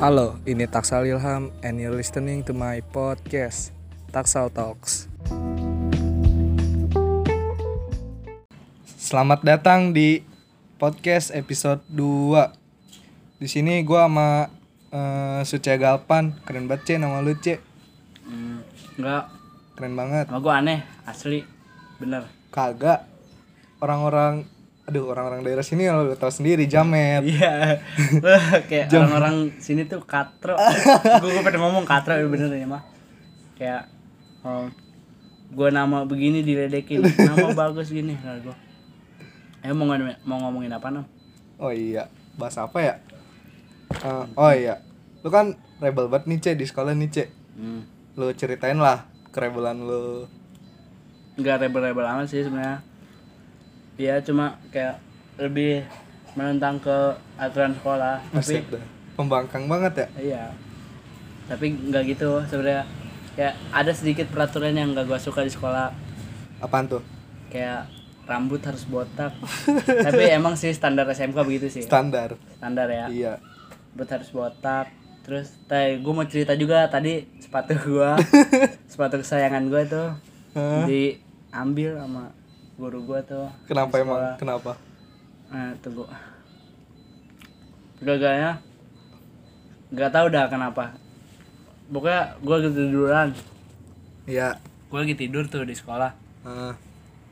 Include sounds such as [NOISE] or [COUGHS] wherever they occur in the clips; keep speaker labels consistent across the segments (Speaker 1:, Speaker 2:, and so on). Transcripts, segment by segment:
Speaker 1: Halo, ini Taksal Ilham and you're listening to my podcast Taksal Talks. Selamat datang di podcast episode 2. Di sini gua sama eh, Suce Galpan, keren banget Ce, nama lu Ce.
Speaker 2: Hmm, enggak,
Speaker 1: Keren banget.
Speaker 2: sama gua aneh, asli, bener.
Speaker 1: Kagak orang-orang aduh orang-orang daerah sini lo tau sendiri jamet
Speaker 2: [LAUGHS] Iya, kayak orang-orang sini tuh [LAUGHS] katro. gua, gua pada ngomong katro, ya bener ya mah. Kayak, oh, gua nama begini diledekin, [LAUGHS] nama bagus gini, lah gua. Eh mau ngomongin, mau ngomongin apa nam?
Speaker 1: oh iya bahas apa ya Eh, oh iya lu kan rebel banget nih Ce di sekolah nih Ce
Speaker 2: Hmm.
Speaker 1: lu ceritain lah kerebelan lu
Speaker 2: nggak rebel-rebel amat sih sebenarnya dia cuma kayak lebih menentang ke aturan sekolah tapi
Speaker 1: Asik dah. pembangkang banget ya
Speaker 2: iya tapi nggak gitu sebenarnya kayak ada sedikit peraturan yang nggak gua suka di sekolah
Speaker 1: apaan tuh
Speaker 2: kayak rambut harus botak tapi emang sih standar SMK begitu sih
Speaker 1: standar
Speaker 2: standar ya
Speaker 1: iya
Speaker 2: rambut harus botak terus teh gue mau cerita juga tadi sepatu gua sepatu kesayangan gua tuh diambil sama guru gua tuh
Speaker 1: kenapa emang kenapa
Speaker 2: Nah, tunggu. Gagalnya ya? nggak tahu dah kenapa. Pokoknya gitu gue ketiduran.
Speaker 1: iya
Speaker 2: Gue lagi tidur tuh di sekolah.
Speaker 1: Ah,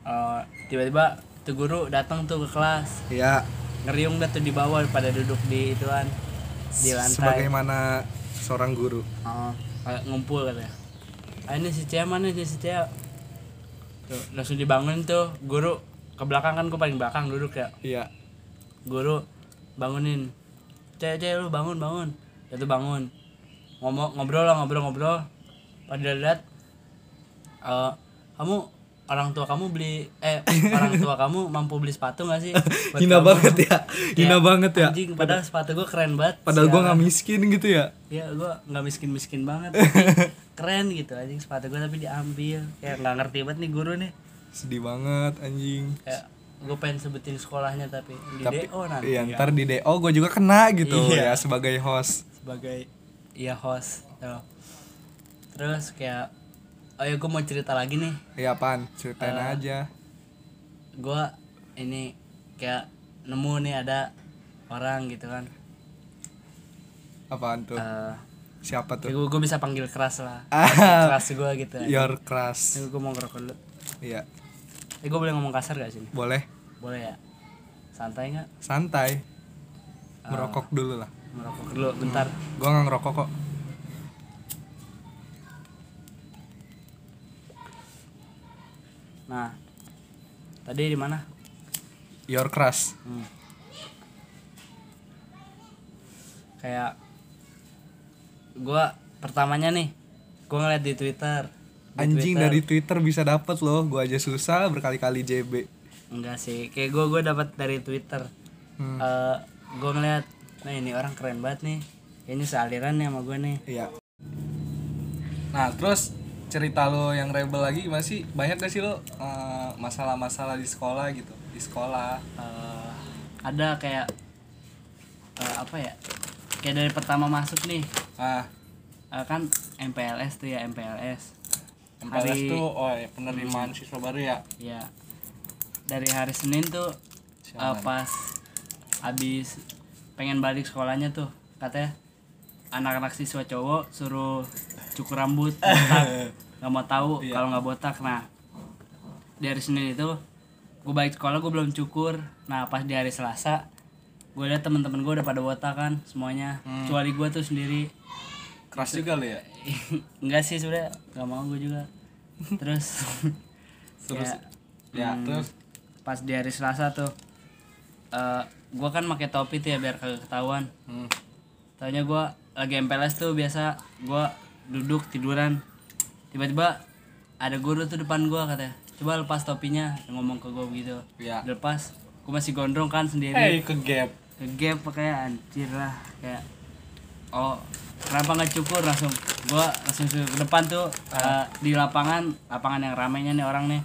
Speaker 2: Eh, tiba-tiba tuh guru datang tuh ke kelas.
Speaker 1: iya
Speaker 2: Ngeriung dah tuh di bawah pada duduk di ituan di lantai.
Speaker 1: sebagaimana seorang guru
Speaker 2: Oh, kayak ngumpul katanya. Ah, ini si Cia mana ini si Cia? Tuh, langsung dibangun tuh guru ke belakang kan gue paling belakang duduk ya.
Speaker 1: iya
Speaker 2: guru bangunin cek cek lu bangun bangun ya tuh bangun ngomong ngobrol lah ngobrol ngobrol pada lihat eh, kamu orang tua kamu beli eh orang
Speaker 1: [LAUGHS]
Speaker 2: tua kamu mampu beli sepatu gak sih Buat
Speaker 1: hina
Speaker 2: kamu."
Speaker 1: banget ya hina
Speaker 2: Kayak,
Speaker 1: banget ya
Speaker 2: anjing padahal sepatu gue keren banget
Speaker 1: padahal gua
Speaker 2: Sialan.
Speaker 1: nggak miskin gitu ya
Speaker 2: ya gue nggak miskin miskin
Speaker 1: [LAUGHS]
Speaker 2: banget tapi keren gitu anjing sepatu gue tapi diambil kayak nggak ngerti banget nih guru nih
Speaker 1: sedih banget anjing
Speaker 2: kayak gue pengen sebutin sekolahnya tapi di
Speaker 1: tapi
Speaker 2: DO nanti
Speaker 1: iya,
Speaker 2: kan.
Speaker 1: ntar di DO gue juga kena gitu ya
Speaker 2: Iya.
Speaker 1: sebagai host
Speaker 2: sebagai ya host tuh. terus kayak oh ya gue mau cerita lagi nih
Speaker 1: ya apaan ceritain
Speaker 2: Eh.
Speaker 1: aja
Speaker 2: gue ini kayak nemu nih ada orang gitu kan
Speaker 1: apaan tuh
Speaker 2: Eh,
Speaker 1: siapa tuh
Speaker 2: gue bisa panggil keras lah
Speaker 1: Ah.
Speaker 2: keras gue gitu
Speaker 1: your crush
Speaker 2: gue mau ngerokok dulu
Speaker 1: iya
Speaker 2: eh gue boleh ngomong kasar gak sini
Speaker 1: boleh
Speaker 2: boleh ya santai nggak
Speaker 1: santai merokok dulu lah
Speaker 2: merokok dulu bentar
Speaker 1: gue nggak ngerokok kok
Speaker 2: nah tadi di mana
Speaker 1: your crush
Speaker 2: Hmm. Kayak gua pertamanya nih, gua ngeliat di Twitter. Di
Speaker 1: anjing
Speaker 2: Twitter.
Speaker 1: dari Twitter bisa dapet loh gue aja susah berkali-kali JB
Speaker 2: enggak sih. Kayak gua gua dapat dari Twitter.
Speaker 1: Hmm.
Speaker 2: Eh, gua ngeliat nah ini orang keren banget nih. Ini sealiran nih sama gua nih.
Speaker 1: iya nah terus cerita lo yang rebel lagi gimana sih banyak gak sih lo eh, masalah-masalah di sekolah gitu di sekolah
Speaker 2: Eh, ada kayak eh, apa ya? Kayak dari pertama masuk nih,
Speaker 1: ah
Speaker 2: eh, kan MPLS tuh ya MPLS.
Speaker 1: MPLS
Speaker 2: Hari-
Speaker 1: tuh oh ya, penerimaan siswa baru ya
Speaker 2: Ya. Dari hari Senin tuh eh, pas habis pengen balik sekolahnya tuh katanya anak-anak siswa cowok suruh cukur rambut botak nggak mau tahu kalau nggak botak nah di hari Senin itu gue balik sekolah gue belum cukur nah pas di hari Selasa gue liat temen-temen gue udah pada botak kan semuanya kecuali gue tuh sendiri [LAUGHS]
Speaker 1: keras juga lo ya
Speaker 2: enggak sih sebenernya nggak mau gue juga terus
Speaker 1: terus
Speaker 2: ya,
Speaker 1: ya terus
Speaker 2: pas di hari Selasa tuh eh gue kan pakai topi tuh ya biar kagak ketahuan
Speaker 1: hmm.
Speaker 2: taunya gue lagi MPLS tuh biasa gue duduk tiduran tiba-tiba ada guru tuh depan gue katanya coba lepas topinya Dia ngomong ke gue gitu
Speaker 1: ya
Speaker 2: lepas gue masih gondrong kan sendiri
Speaker 1: eh ke gap
Speaker 2: ke gap kayak anjir lah kayak oh kenapa nggak cukur langsung gua langsung suruh ke depan tuh eh, di lapangan lapangan yang ramainya nih orang nih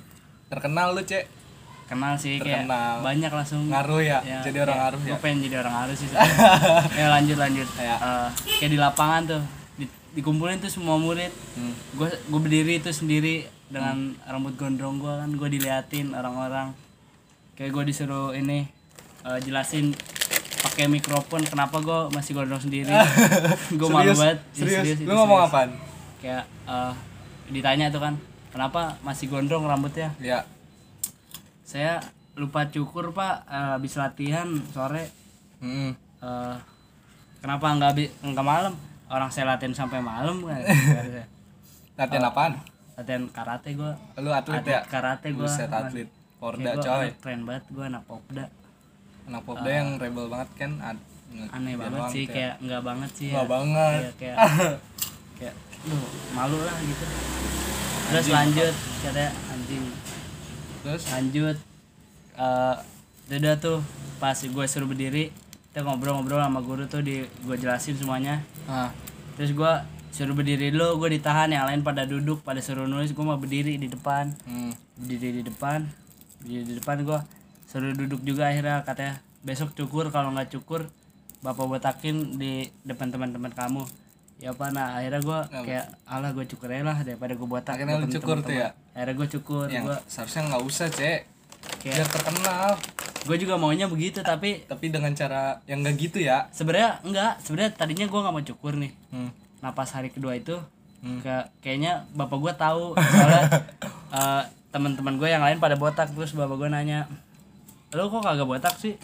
Speaker 1: terkenal lo cek
Speaker 2: kenal sih kayak
Speaker 1: Terkenal.
Speaker 2: banyak langsung
Speaker 1: Ngaruh ya,
Speaker 2: Ya,
Speaker 1: jadi
Speaker 2: kayak
Speaker 1: orang ngaruh ya.
Speaker 2: gua pengen jadi orang ngaruh
Speaker 1: [LAUGHS]
Speaker 2: sih sebenarnya. ya lanjut lanjut
Speaker 1: Ya.
Speaker 2: Eh, kayak di lapangan tuh di- dikumpulin tuh semua murid
Speaker 1: Hmm.
Speaker 2: gue gue berdiri itu sendiri dengan rambut gondrong gue kan gue diliatin orang-orang kayak gue disuruh ini eh, jelasin pakai mikrofon kenapa gue masih gondrong
Speaker 1: [LAUGHS]
Speaker 2: sendiri gue malu
Speaker 1: Serius?
Speaker 2: banget Iya,
Speaker 1: Serius?
Speaker 2: itu
Speaker 1: Lu ngomong
Speaker 2: serius.
Speaker 1: apaan?
Speaker 2: kayak eh, ditanya tuh kan kenapa masih gondrong rambutnya
Speaker 1: Ya.
Speaker 2: saya lupa cukur pak Eh, habis latihan sore
Speaker 1: Hmm.
Speaker 2: eh kenapa nggak bi- nggak malam orang saya latihan sampai malam
Speaker 1: [LAUGHS]
Speaker 2: kan Baru saya-
Speaker 1: Latihan apaan?
Speaker 2: latihan karate gue
Speaker 1: Oh. Lu atlet ya?
Speaker 2: karate gue
Speaker 1: Buset atlet. Porda coy.
Speaker 2: keren banget gue anak popda
Speaker 1: Anak popda yang rebel banget kan. ad-
Speaker 2: aneh
Speaker 1: Iya
Speaker 2: banget sih kayak nggak banget sih
Speaker 1: gitu ya. Nggak banget.
Speaker 2: Iya, kayak kayak duh, malu lah gitu terus lanjut katanya anjing
Speaker 1: [LAUGHS] Terus
Speaker 2: lanjut eh udah tuh pas gue suruh berdiri kita ngobrol-ngobrol sama guru tuh di gue jelasin semuanya
Speaker 1: ah,
Speaker 2: terus gua suruh berdiri dulu gue ditahan yang lain pada duduk pada suruh nulis gue mau berdiri di depan
Speaker 1: hmm.
Speaker 2: berdiri di depan berdiri di depan gua suruh duduk juga akhirnya katanya besok cukur kalau nggak cukur bapak botakin di depan teman-teman kamu ya apa nah akhirnya gua kayak alah gue cukur aja lah daripada gue botak
Speaker 1: Akhirnya lu
Speaker 2: depan
Speaker 1: cukur tuh ya?
Speaker 2: teman-teman." akhirnya gue cukur
Speaker 1: Yang
Speaker 2: gua
Speaker 1: seharusnya nggak usah, Cek.
Speaker 2: Kayak-
Speaker 1: Biar terkenal,
Speaker 2: gue juga maunya begitu tapi
Speaker 1: tapi dengan cara yang nggak gitu ya.
Speaker 2: sebenarnya enggak sebenarnya tadinya gua nggak mau cukur nih
Speaker 1: Hmm.
Speaker 2: napas hari kedua itu ke- kayaknya bapak gua tahu soalnya eh, teman-teman gue yang lain pada botak terus bapak gua nanya lo kok kagak botak sih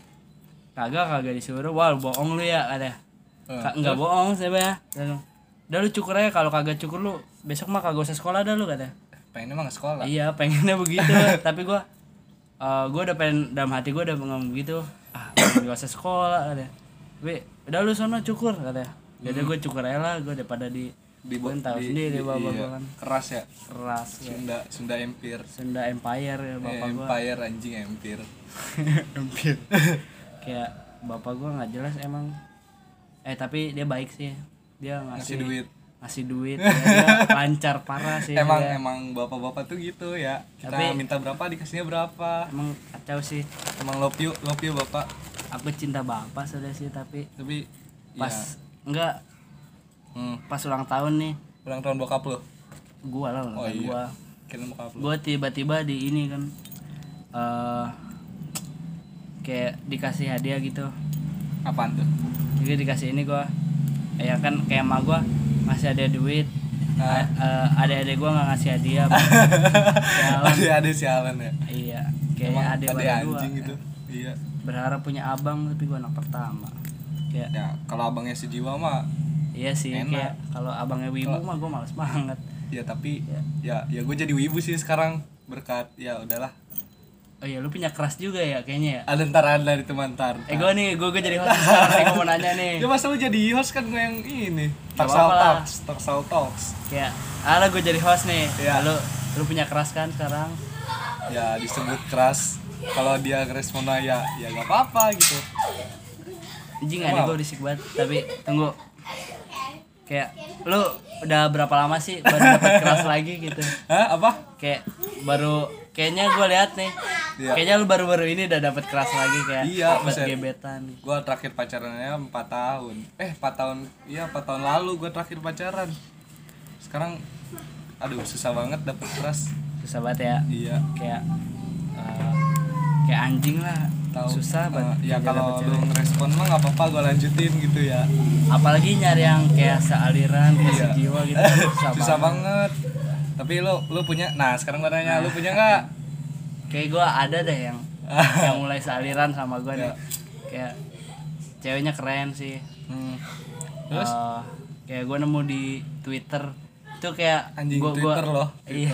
Speaker 2: kagak kagak disuruh wah lu bohong lu ya ada Ka- nggak bohong saya ya udah lu cukur aja kalau kagak cukur lu besok mah kagak usah sekolah dah lu kata
Speaker 1: Pengen emang nggak sekolah.
Speaker 2: Iya pengennya begitu Tapi gue Gue udah pengen Dalam hati gue udah ngomong begitu Ah gak usah sekolah katanya. Tapi udah lu sono cukur katanya Jadi gue cukur aja lah Gue daripada di Di
Speaker 1: bo-
Speaker 2: tahu sendiri bapak
Speaker 1: iya.
Speaker 2: gue kan
Speaker 1: Keras ya.
Speaker 2: Keras ya.
Speaker 1: Sunda Sunda Empire.
Speaker 2: Sunda Empire ya
Speaker 1: Eh,
Speaker 2: bapak gue
Speaker 1: Empire anjing [LAUGHS] Empire.
Speaker 2: Empire Kayak bapak gue gak jelas emang Eh tapi dia baik sih Dia
Speaker 1: [LAUGHS] Ngasih
Speaker 2: ngasih
Speaker 1: duit.
Speaker 2: Ngasih duit ya, dia lancar parah sih
Speaker 1: emang
Speaker 2: dia.
Speaker 1: emang bapak-bapak tuh gitu ya. Kita
Speaker 2: Iya. Tapi-
Speaker 1: minta berapa dikasihnya berapa.
Speaker 2: Emang kacau sih
Speaker 1: Emang love you, love you bapak.
Speaker 2: Aku cinta bapak sudah sih tapi
Speaker 1: Tapi
Speaker 2: pas
Speaker 1: iya.
Speaker 2: enggak
Speaker 1: Hmm.
Speaker 2: pas ulang tahun nih
Speaker 1: Ulang tahun bokap lo.
Speaker 2: gua lah ulang
Speaker 1: Oh
Speaker 2: tahun
Speaker 1: iya.
Speaker 2: gua
Speaker 1: Kira bokap lo.
Speaker 2: gua tiba-tiba di ini kan eh kayak dikasih hadiah gitu
Speaker 1: Apaan tuh?
Speaker 2: jadi dikasih ini gua eh, ya kan kayak emak gua ngasih hadiah duit
Speaker 1: Ah.
Speaker 2: eh adik-adik gua nggak ngasih hadiah
Speaker 1: [LAUGHS]
Speaker 2: Sialan.
Speaker 1: [LAUGHS] Ada ada sialan ya.
Speaker 2: iya
Speaker 1: Emang
Speaker 2: kayak adik
Speaker 1: ada
Speaker 2: pada gua
Speaker 1: anjing gitu. Iya.
Speaker 2: berharap punya abang tapi gua anak pertama kayak
Speaker 1: Ya, kalau abangnya sejiwa mah
Speaker 2: iya sih
Speaker 1: Enak.
Speaker 2: kayak kalau abangnya wibu mah gua males banget
Speaker 1: ya tapi
Speaker 2: Iya.
Speaker 1: ya ya gue jadi wibu sih sekarang berkat ya udahlah
Speaker 2: oh iya lu punya keras juga ya kayaknya ya
Speaker 1: ada ntar ada dari teman ntar
Speaker 2: Eh gue nih, gue jadi host sekarang nih, gue mau nanya
Speaker 1: [LAUGHS]
Speaker 2: nih
Speaker 1: ya masa lu jadi host kan gue yang ini
Speaker 2: Gak
Speaker 1: Taksal
Speaker 2: apa-apa lah.
Speaker 1: Talks Taksal Talks
Speaker 2: Kayak, Ya, ala gue jadi host nih
Speaker 1: Iya.
Speaker 2: Lalu, lu punya keras kan sekarang?
Speaker 1: ya disebut keras kalau dia responnya ya ya gak apa-apa gitu
Speaker 2: Anjing ada gue berisik banget, tapi tunggu Kayak, lu udah berapa lama sih baru dapat keras lagi gitu?
Speaker 1: Hah? apa
Speaker 2: Kayak, baru, kayaknya gue lihat nih
Speaker 1: Iya.
Speaker 2: Kayaknya lu baru-baru ini udah dapat keras lagi kayak
Speaker 1: Iya,
Speaker 2: dapet
Speaker 1: buset.
Speaker 2: gebetan
Speaker 1: gue terakhir pacarannya 4 tahun eh 4 tahun iya 4 tahun lalu gue terakhir pacaran sekarang aduh susah banget dapet keras
Speaker 2: Susah banget ya
Speaker 1: iya
Speaker 2: Kayak, eh, kayak anjing lah
Speaker 1: tahu
Speaker 2: Susah banget
Speaker 1: Eh, ya
Speaker 2: kerja
Speaker 1: kalau
Speaker 2: dapet
Speaker 1: lu
Speaker 2: cewek.
Speaker 1: ngerespon mah nggak apa-apa gue lanjutin gitu ya
Speaker 2: apalagi nyari yang kayak sealiran kayak
Speaker 1: Iya.
Speaker 2: sejiwa
Speaker 1: [LAUGHS]
Speaker 2: gitu susah,
Speaker 1: susah
Speaker 2: banget
Speaker 1: banget tapi lu lu punya nah sekarang gue nanya lu punya nggak
Speaker 2: kayak gue ada deh yang yang mulai sealiran sama gue nih
Speaker 1: Iya.
Speaker 2: kayak ceweknya keren sih
Speaker 1: hmm.
Speaker 2: terus kayak gue nemu di twitter itu kayak
Speaker 1: [LAUGHS] Anjing, Twitter loh,
Speaker 2: iya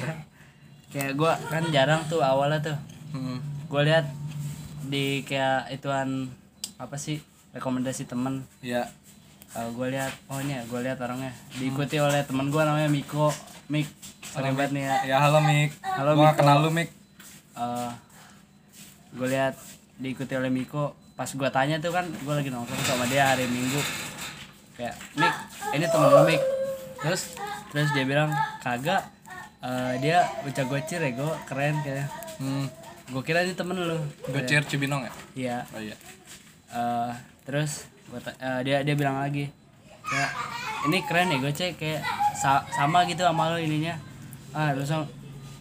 Speaker 2: kayak gue kan jarang tuh awalnya tuh
Speaker 1: Hmm.
Speaker 2: gue lihat di kayak ituan apa sih rekomendasi temen
Speaker 1: ya
Speaker 2: kalau gue lihat oh ini ya gue lihat orangnya diikuti
Speaker 1: Hmm.
Speaker 2: oleh temen gue namanya Miko Mik keren banget nih
Speaker 1: ya
Speaker 2: ya
Speaker 1: halo Mik
Speaker 2: Halo,
Speaker 1: gue
Speaker 2: Miko.
Speaker 1: kenal lu Mik
Speaker 2: gue Eh, lihat diikuti oleh Miko pas gue tanya tuh kan gue lagi nongkrong sama dia hari Minggu kayak Mik ini temen lo Mik terus terus dia bilang kagak eh, dia bocah gocir ya gue keren kayaknya
Speaker 1: hmm.
Speaker 2: gue kira ini temen lu
Speaker 1: Gocer Cibinong ya?
Speaker 2: iya
Speaker 1: Oh iya.
Speaker 2: Eh, terus gua ta- eh, dia dia bilang lagi ya ini keren ya gue cek kayak sa- sama gitu sama lo ininya ah langsung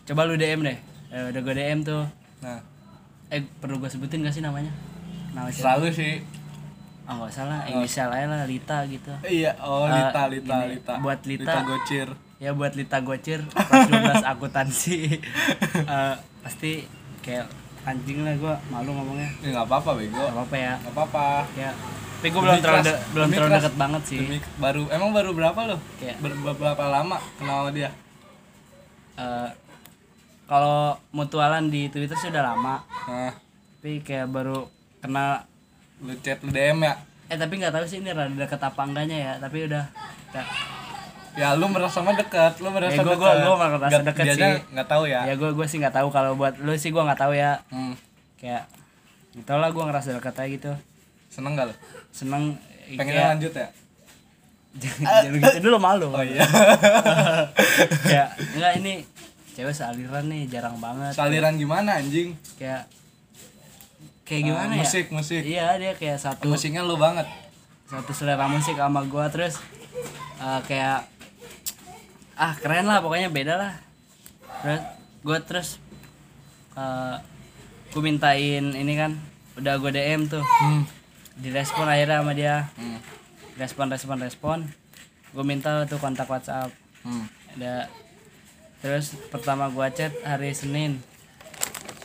Speaker 2: coba lu DM deh Eh, udah gue DM tuh
Speaker 1: Nah,
Speaker 2: eh perlu gue sebutin gak sih namanya nama siapa
Speaker 1: selalu sih.
Speaker 2: ah nggak salah inisial aja lah Lita gitu
Speaker 1: Iya, oh
Speaker 2: Eh,
Speaker 1: Lita, Lita,
Speaker 2: ini,
Speaker 1: Lita.
Speaker 2: buat Lita.
Speaker 1: Lita Gocir.
Speaker 2: ya buat Lita Gocir kelas 12 akuntansi Eh, pasti kayak anjing lah gue malu ngomongnya
Speaker 1: Ya enggak apa-apa bego.
Speaker 2: gak apa-apa ya
Speaker 1: Enggak apa-apa.
Speaker 2: ya tapi gue belum
Speaker 1: Demi
Speaker 2: terlalu
Speaker 1: kelas-
Speaker 2: de- belum
Speaker 1: demi
Speaker 2: terlalu
Speaker 1: kelas-
Speaker 2: deket banget sih
Speaker 1: Demi baru emang baru berapa lo?
Speaker 2: Kayak-
Speaker 1: Ber- ber- berapa lama kenal sama dia?
Speaker 2: Eh, kalau mutualan di Twitter sudah lama
Speaker 1: Nah,
Speaker 2: tapi kayak baru kenal
Speaker 1: lu chat lu DM ya.
Speaker 2: eh tapi nggak tahu sih ini rada deket apa enggaknya ya tapi udah ya,
Speaker 1: Ya lu merasa mah dekat, lu merasa
Speaker 2: Ya, gua- gua- gua merasa
Speaker 1: Nggak-
Speaker 2: deket
Speaker 1: dia
Speaker 2: sih.
Speaker 1: aja nggak tahu ya.
Speaker 2: ya gue gue sih nggak tahu kalau buat lu sih gue nggak tahu ya
Speaker 1: Hmm.
Speaker 2: kayak nggak tahu lah gue ngerasa deket aja gitu
Speaker 1: Seneng gak lu?
Speaker 2: seneng eh,
Speaker 1: Pengen
Speaker 2: [LAUGHS] kayak-
Speaker 1: lanjut ya?
Speaker 2: jangan gitu dulu malu
Speaker 1: Oh
Speaker 2: [LAUGHS]
Speaker 1: iya.
Speaker 2: ya enggak ini cewek sealiran nih jarang banget
Speaker 1: Saliran gimana anjing? Nah,
Speaker 2: kayak kayak gimana ya
Speaker 1: Eh, musik, musik.
Speaker 2: iya dia kayak satu
Speaker 1: Musiknya lu banget.
Speaker 2: satu selera musik sama gua terus eh, kayak ah keren lah pokoknya beda lah terus gua terus eh gua mintain ini kan udah gua DM tuh direspon akhirnya sama dia
Speaker 1: Hmm.
Speaker 2: respon respon respon gua minta tuh kontak WhatsApp
Speaker 1: Hmm.
Speaker 2: ada terus pertama gua chat hari Senin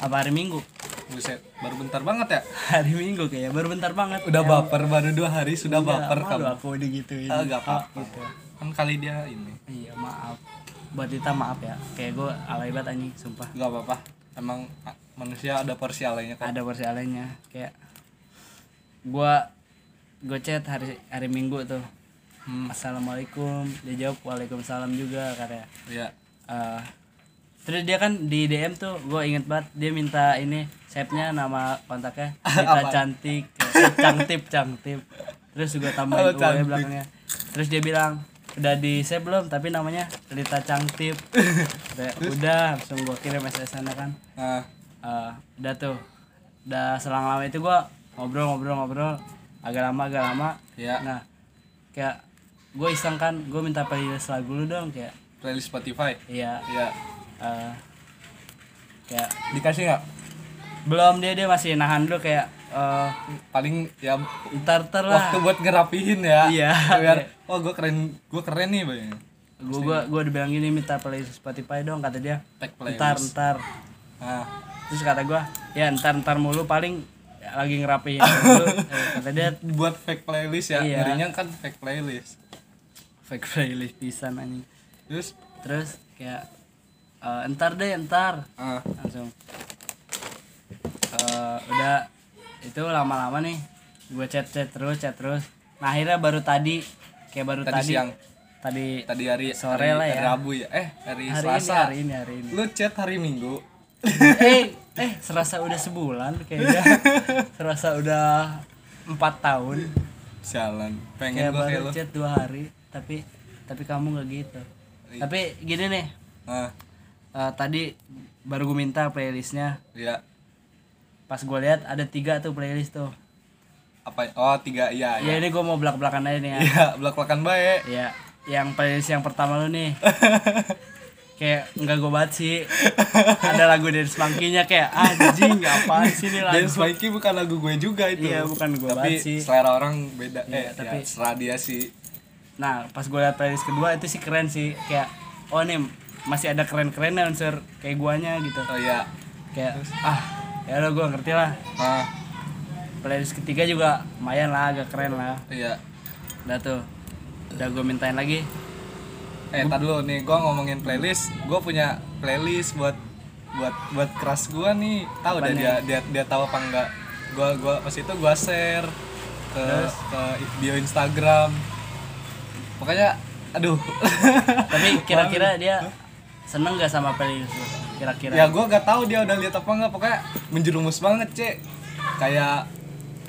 Speaker 2: apa hari Minggu [LAUGHS]
Speaker 1: Buset, baru bentar banget ya?
Speaker 2: hari Minggu kayaknya baru bentar banget
Speaker 1: Udah baper baru dua hari sudah
Speaker 2: Enggak,
Speaker 1: baper
Speaker 2: Iya. malu
Speaker 1: kamu.
Speaker 2: aku digituin
Speaker 1: Ah, nggak apa-apa.
Speaker 2: Ah, gitu.
Speaker 1: Kan kali dia ini.
Speaker 2: Iya maaf Buat Dita maaf ya Kayak gue alay banget anjing Sumpah
Speaker 1: nggak apa-apa. Emang ah, manusia ada porsi alainya kan.
Speaker 2: Ada versi alaynya Kayak gua Gue chat hari, hari minggu tuh
Speaker 1: Hmm.
Speaker 2: Assalamualaikum Dia jawab Waalaikumsalam juga ya. katanya
Speaker 1: Iya.
Speaker 2: Eh, Terus dia kan di DM tuh Gue inget banget Dia minta ini Shape-nya nama kontaknya Dita cantik eh, Cangtip Cangtip Terus gue
Speaker 1: Oh,
Speaker 2: tambahin
Speaker 1: cantik.
Speaker 2: UW belakangnya Terus dia bilang udah di save belum tapi namanya Lita Cangtip udah, udah langsung gue kirim SMS -nya kan
Speaker 1: Nah,
Speaker 2: Eh, udah tuh udah selang lama itu gua ngobrol ngobrol ngobrol agak lama agak lama
Speaker 1: Iya.
Speaker 2: nah kayak gue iseng kan gue minta playlist lagu lu dong kayak
Speaker 1: playlist Spotify.
Speaker 2: iya
Speaker 1: Iya.
Speaker 2: eh, kayak
Speaker 1: Dikasih nggak?
Speaker 2: belum dia dia masih nahan dulu kayak eh
Speaker 1: Paling ya
Speaker 2: ntar ntar lah
Speaker 1: waktu buat ngerapihin ya.
Speaker 2: Iya.
Speaker 1: Biar oh gue keren, gue keren nih bang.
Speaker 2: gue gue gue dibilang gini minta playlist Spotify dong kata dia
Speaker 1: Tag
Speaker 2: ntar
Speaker 1: playlist.
Speaker 2: ntar
Speaker 1: Nah,
Speaker 2: terus kata gua ya ntar ntar mulu paling lagi [LAUGHS] ngerapihin dulu Eh, kata dia
Speaker 1: buat fake playlist ya.
Speaker 2: Iya.
Speaker 1: Ngerinya kan fake playlist.
Speaker 2: fake playlist pisan anjing
Speaker 1: Terus
Speaker 2: terus kayak eh, entar deh entar
Speaker 1: ah,
Speaker 2: langsung Eh, udah itu lama-lama nih gue chat chat terus chat terus nah akhirnya baru tadi kayak baru
Speaker 1: Tadi
Speaker 2: tadi
Speaker 1: siang.
Speaker 2: tadi,
Speaker 1: tadi hari
Speaker 2: Sore
Speaker 1: hari
Speaker 2: lah ya.
Speaker 1: Rabu ya. Eh, hari,
Speaker 2: hari ini
Speaker 1: Selasa.
Speaker 2: hari ini hari
Speaker 1: [LAUGHS]
Speaker 2: ini
Speaker 1: Lu chat hari Minggu.
Speaker 2: eh eh serasa udah sebulan kayaknya serasa udah empat tahun
Speaker 1: Sialan.
Speaker 2: kayak
Speaker 1: Pengen gue kayak
Speaker 2: Iya, baru
Speaker 1: lu.
Speaker 2: chat dua hari tapi tapi kamu nggak gitu
Speaker 1: Iya.
Speaker 2: tapi gini nih
Speaker 1: Ah,
Speaker 2: eh, tadi baru gue minta playlistnya
Speaker 1: iya.
Speaker 2: pas gue lihat ada tiga tuh playlist tuh
Speaker 1: Apa? Oh, tiga iya.
Speaker 2: ya ini gue mau belak belakan aja nih ya
Speaker 1: Iya, belak-belakan
Speaker 2: [LAUGHS]
Speaker 1: baik.
Speaker 2: ya yang playlist yang pertama lu nih kayak nggak gue banget sih ada lagu dance monkey-nya kayak "Ah, anjing apaan sih ini lagu
Speaker 1: Dance Mikey bukan lagu gue juga itu.
Speaker 2: Iya, bukan gue
Speaker 1: Tapi
Speaker 2: banget sih. Iya,
Speaker 1: selera orang beda. eh, tapi
Speaker 2: tapi-
Speaker 1: ya, selera dia sih.
Speaker 2: nah pas gue liat playlist kedua itu sih keren sih kayak oh nih masih ada keren kerennya unsur kayak guanya gitu
Speaker 1: Oh iya.
Speaker 2: kayak ah ya lo gue ngerti lah
Speaker 1: Ah,
Speaker 2: playlist ketiga juga lumayan lah agak keren lah
Speaker 1: iya.
Speaker 2: udah tuh udah gue mintain lagi
Speaker 1: Eh, tar dulu nih, gue ngomongin playlist. Gue punya playlist buat buat buat keras gue nih. Tahu dah dia dia dia tahu apa enggak? Gue gua pas itu gue share ke ke bio Instagram. Pokoknya aduh. [LAUGHS]
Speaker 2: tapi kira-kira dia seneng gak sama playlist lu kira-kira
Speaker 1: ya gue gak tahu dia udah lihat apa nggak pokoknya menjerumus banget cek kayak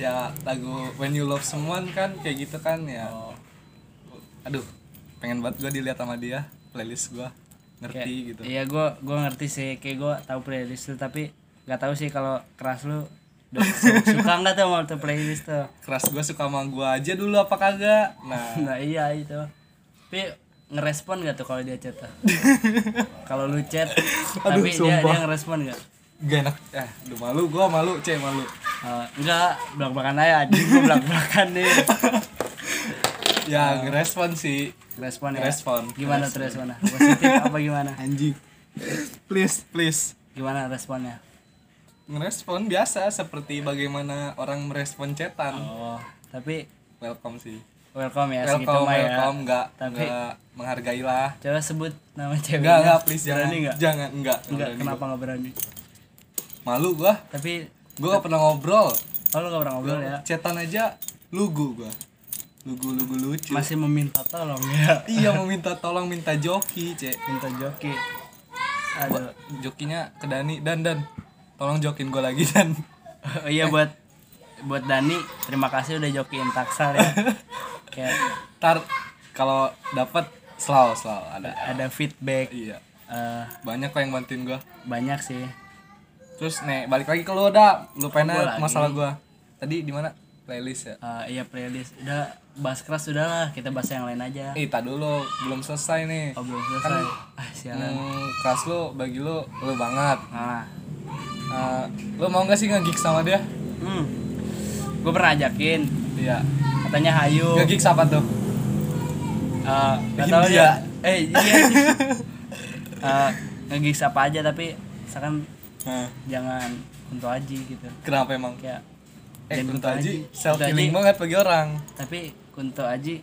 Speaker 1: ya lagu When You Love Someone kan kayak gitu kan ya aduh pengen banget gue dilihat sama dia playlist gue ngerti gitu
Speaker 2: iya gue gue ngerti sih kayak gue tahu playlist lu tapi nggak tahu sih kalau keras lu udah su- [LAUGHS] suka nggak tuh mau tuh playlist tuh
Speaker 1: keras gue suka sama gue aja dulu apa kagak nah
Speaker 2: nah iya itu tapi ngerespon gak tuh kalau dia chat
Speaker 1: [LAUGHS]
Speaker 2: tuh? kalau lu chat tapi dia dia ngerespon gak
Speaker 1: gak enak eh aduh malu gue malu c malu
Speaker 2: Eh, enggak belak belakan aja anjing gue belak belakan nih Ah.
Speaker 1: ya ngerespon sih
Speaker 2: respon ya
Speaker 1: Ngerespon,
Speaker 2: gimana tuh responnya positif apa gimana
Speaker 3: anjing please
Speaker 1: please
Speaker 2: gimana responnya
Speaker 1: ngerespon biasa seperti bagaimana orang merespon cetan
Speaker 2: oh tapi
Speaker 1: welcome sih
Speaker 2: welcome ya segitu
Speaker 1: welcome
Speaker 2: mah ya
Speaker 1: welcome nggak
Speaker 2: Tapi-
Speaker 1: nggak menghargai lah
Speaker 2: coba sebut nama ceweknya
Speaker 1: enggak enggak please jangan
Speaker 2: berani nggak
Speaker 1: jangan enggak
Speaker 2: enggak kenapa
Speaker 1: gitu.
Speaker 2: nggak berani
Speaker 1: malu gua
Speaker 2: tapi
Speaker 1: gua gak pernah ngobrol
Speaker 2: oh, lu gak pernah ngobrol ya
Speaker 1: cetan aja lugu gua lugu lugu lucu
Speaker 2: masih meminta tolong ya
Speaker 1: iya mau minta tolong minta joki cek
Speaker 2: minta joki aduh
Speaker 1: jokinya ke Dani dan dan tolong jokin gua lagi [LAUGHS] dan
Speaker 2: Oh [LAUGHS] iya buat buat Dani terima kasih udah jokiin taksal [LAUGHS] ya. Kayak
Speaker 1: tar kalau dapat selalu selalu ada
Speaker 2: ada feedback
Speaker 1: iya
Speaker 2: eh,
Speaker 1: banyak kok yang bantuin gua
Speaker 2: banyak sih.
Speaker 1: terus nih balik lagi ke lu dah lu
Speaker 2: gua
Speaker 1: pengen
Speaker 2: lagi.
Speaker 1: masalah gua tadi di mana playlist ya
Speaker 2: Eh, iya playlist udah bahas keras udah lah kita bahas yang lain aja.
Speaker 1: Eh, tar dulu, belum selesai nih.
Speaker 2: Oh belum selesai. Ah sialan.
Speaker 1: Hmm, kelas lu bagi lu lu banget.
Speaker 2: Ah.
Speaker 1: Eh, lu mau gak sih nge-gig sama dia?
Speaker 2: Hmm. Gue pernah ajakin
Speaker 1: Iya.
Speaker 2: katanya hayu.
Speaker 1: Nge-gig apa tuh?
Speaker 2: Eh, gak tau
Speaker 1: India.
Speaker 2: dia. Eh iya. Eh, nge-gigs apa aja tapi misalkan
Speaker 1: Hah,
Speaker 2: jangan kunto aji gitu.
Speaker 1: kenapa emang?
Speaker 2: Kayak
Speaker 1: Eh,
Speaker 2: jangan
Speaker 1: Kunto Aji
Speaker 2: Kunto
Speaker 1: self healing
Speaker 2: Aji-
Speaker 1: banget bagi orang.
Speaker 2: tapi Kunto Aji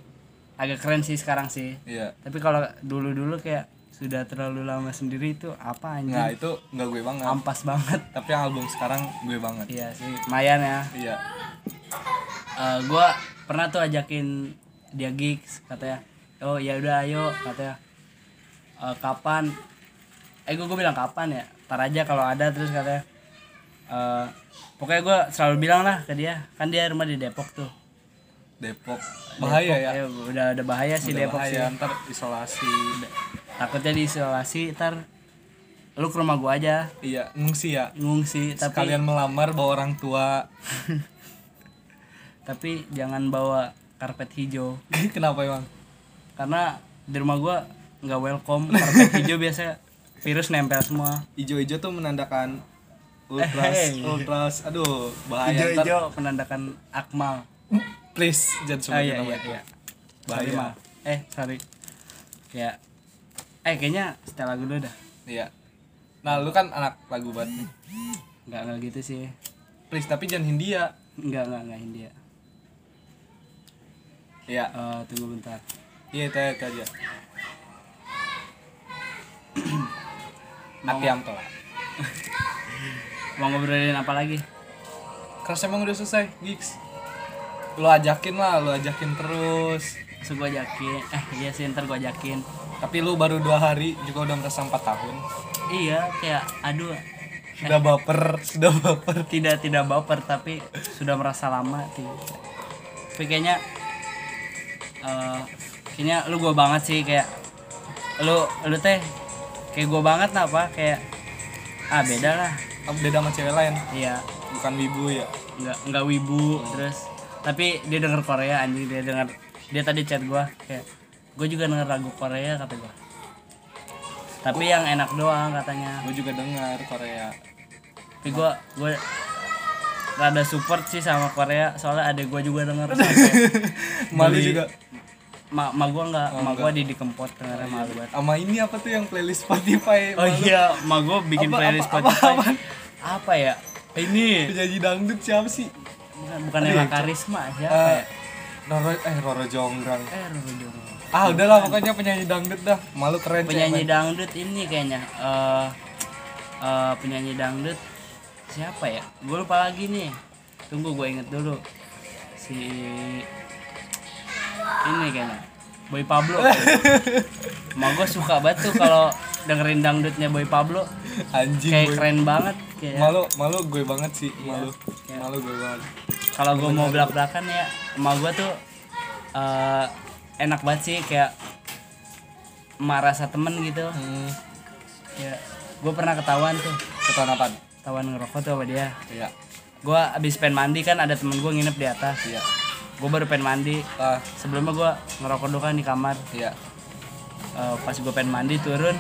Speaker 2: agak keren sih sekarang sih
Speaker 1: Iya.
Speaker 2: tapi kalau dulu dulu kayak sudah terlalu lama sendiri itu apa anjing
Speaker 1: Nah, itu nggak gue banget.
Speaker 2: ampas banget
Speaker 1: Tapi yang album sekarang gue banget.
Speaker 2: iya sih lumayan ya
Speaker 1: Iya.
Speaker 2: Eh, gua pernah tuh ajakin dia gigs katanya oh ya udah ayo katanya "Eh, kapan eh gua, gua bilang kapan ya tar aja kalau ada terus katanya "Eh, pokoknya gua selalu bilang lah ke dia kan dia rumah di Depok tuh
Speaker 1: Depok bahaya ya.
Speaker 2: ya udah ada bahaya sih
Speaker 1: Udah
Speaker 2: Depok sih
Speaker 1: bahaya ntar isolasi.
Speaker 2: takutnya diisolasi ntar lu ke rumah gua aja
Speaker 1: Iya, ngungsi ya.
Speaker 2: ngungsi tapi
Speaker 1: Sekalian melamar bawa orang
Speaker 2: [LAUGHS]
Speaker 1: tua.
Speaker 2: tapi jangan bawa karpet hijau
Speaker 1: Kenapa emang?
Speaker 2: karena di rumah gua nggak welcome karpet hijau biasa virus nempel semua
Speaker 1: Ijo-ijo tuh menandakan ultras,
Speaker 2: Eh, Hey.
Speaker 1: ultras. Aduh, bahaya. Ntar-
Speaker 2: hijau-hijau menandakan akmal
Speaker 1: Please jangan
Speaker 2: oh
Speaker 1: sebutin
Speaker 2: iya
Speaker 1: nama
Speaker 2: iya
Speaker 1: itu.
Speaker 2: iya
Speaker 1: Bahaya.
Speaker 2: sorry mal eh sorry ya eh kayaknya setel lagu dulu dah
Speaker 1: Iya. Nah, lu kan anak lagu banget nih.
Speaker 2: nggak nggak gitu sih
Speaker 1: Please, tapi jangan Hindia.
Speaker 2: nggak nggak nggak India
Speaker 1: Iya.
Speaker 2: Eh tunggu bentar
Speaker 1: Iya, itu, itu aja. Atiam tolak.
Speaker 2: mau ngobrolin apa lagi
Speaker 1: Crush emang udah selesai, gigs. Lu ajakin lah, lu ajakin terus.
Speaker 2: Terus gue ajakin eh iya sih ntar gue ajakin
Speaker 1: Tapi lu baru dua hari juga udah merasa empat tahun.
Speaker 2: iya kayak aduh
Speaker 1: Sudah baper, [LAUGHS] sudah baper.
Speaker 2: tidak tidak baper tapi sudah merasa lama sih tapi kayaknya eh, kayaknya lu gue banget sih kayak lu lu teh kayak gue banget apa kayak ah beda lah
Speaker 1: Apa Beda sama cewek lain,
Speaker 2: iya
Speaker 1: bukan wibu ya.
Speaker 2: nggak nggak wibu terus tapi dia denger Korea anjing dia denger dia tadi chat gue kayak gue juga denger lagu Korea kata gue tapi yang enak doang katanya
Speaker 1: Gue juga dengar Korea. [LAUGHS]
Speaker 2: tapi gue gue rada support sih sama Korea soalnya ada gue juga denger [LAUGHS] sampai
Speaker 1: Malu
Speaker 2: Beli-
Speaker 1: juga.
Speaker 2: ma ma gue Oh, nggak ma gue di dikempot dengernya malu banget
Speaker 1: Sama ini apa tuh yang playlist Spotify?
Speaker 2: oh iya ma gue bikin
Speaker 1: Apa-
Speaker 2: playlist
Speaker 1: apa- apa-
Speaker 2: Spotify
Speaker 1: apaan?
Speaker 2: apa ya ini
Speaker 1: Penyanyi dangdut siapa sih?
Speaker 2: bukan bukan Ella karisma siapa
Speaker 1: Eh,
Speaker 2: ya
Speaker 1: Roro eh Roro Jonggrang.
Speaker 2: eh Roro Jono.
Speaker 1: Ah udahlah pokoknya penyanyi dangdut dah. Malu keren cek.
Speaker 2: penyanyi dangdut ini kayaknya eh eh, penyanyi dangdut siapa ya gue lupa lagi nih tunggu gue inget dulu si ini kayaknya Boy Pablo mau gue suka banget tuh kalau dengerin dangdutnya Boy Pablo
Speaker 1: Anjing
Speaker 2: kayak
Speaker 1: gue.
Speaker 2: keren ya. Iya, banget kayak
Speaker 1: Malu malu gue banget sih, malu. Malu gue banget.
Speaker 2: kalau gue mau belak belakan ya emak gue tuh eh, enak banget sih kayak emak rasa temen gitu
Speaker 1: Hmm,
Speaker 2: ya gue pernah ketahuan tuh
Speaker 1: ketahuan apaan?
Speaker 2: tawan ngerokok tuh sama dia
Speaker 1: Iya.
Speaker 2: gua abis pengen mandi kan ada temen gua nginep di atas
Speaker 1: Iya.
Speaker 2: gua baru pengen mandi
Speaker 1: Ah,
Speaker 2: sebelumnya gua ngerokok dulu kan di kamar
Speaker 1: iya.
Speaker 2: Eh, pas gua pengen mandi turun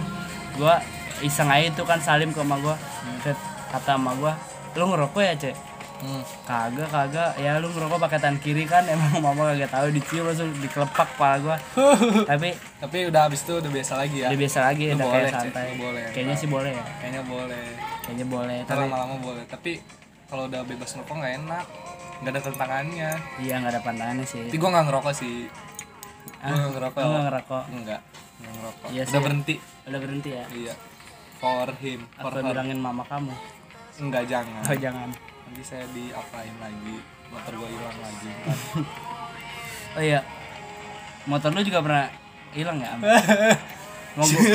Speaker 2: gua iseng aja itu kan salim ke emak gua Set, kata emak gua lu ngerokok ya cek
Speaker 1: Hmm.
Speaker 2: kagak kagak ya lu ngerokok pakai tangan kiri kan [LAUGHS] emang mama kagak tahu dicium langsung dikelepak kepala
Speaker 1: [LAUGHS]
Speaker 2: gua tapi
Speaker 1: Tapi udah habis itu udah biasa lagi ya.
Speaker 2: udah biasa lagi
Speaker 1: Lu
Speaker 2: udah
Speaker 1: boleh,
Speaker 2: kayak
Speaker 1: Cek.
Speaker 2: santai
Speaker 1: Lu boleh.
Speaker 2: kayaknya sih boleh ya
Speaker 1: Kayaknya boleh.
Speaker 2: kayaknya boleh
Speaker 1: Ntar
Speaker 2: tapi
Speaker 1: lama-lama boleh. Tapi kalau udah bebas ngerokok nggak enak. Nggak ada tantangannya.
Speaker 2: iya nggak ada pantangannya sih
Speaker 1: Tapi gue nggak ngerokok sih. Gue nggak ngerokok.
Speaker 2: lu nggak ngerokok
Speaker 1: Enggak. Nggak ngerokok.
Speaker 2: Ah, Iya
Speaker 1: udah berhenti.
Speaker 2: Oh. udah berhenti ya
Speaker 1: Iya. For him. For
Speaker 2: atau
Speaker 1: her.
Speaker 2: bilangin mama kamu
Speaker 1: Enggak jangan.
Speaker 2: oh jangan
Speaker 1: Nanti saya diapain lagi. Motor gue hilang
Speaker 2: [LAUGHS]
Speaker 1: lagi.
Speaker 2: oh iya motor lu juga pernah hilang ya Am? mau
Speaker 1: [LAUGHS]
Speaker 2: gua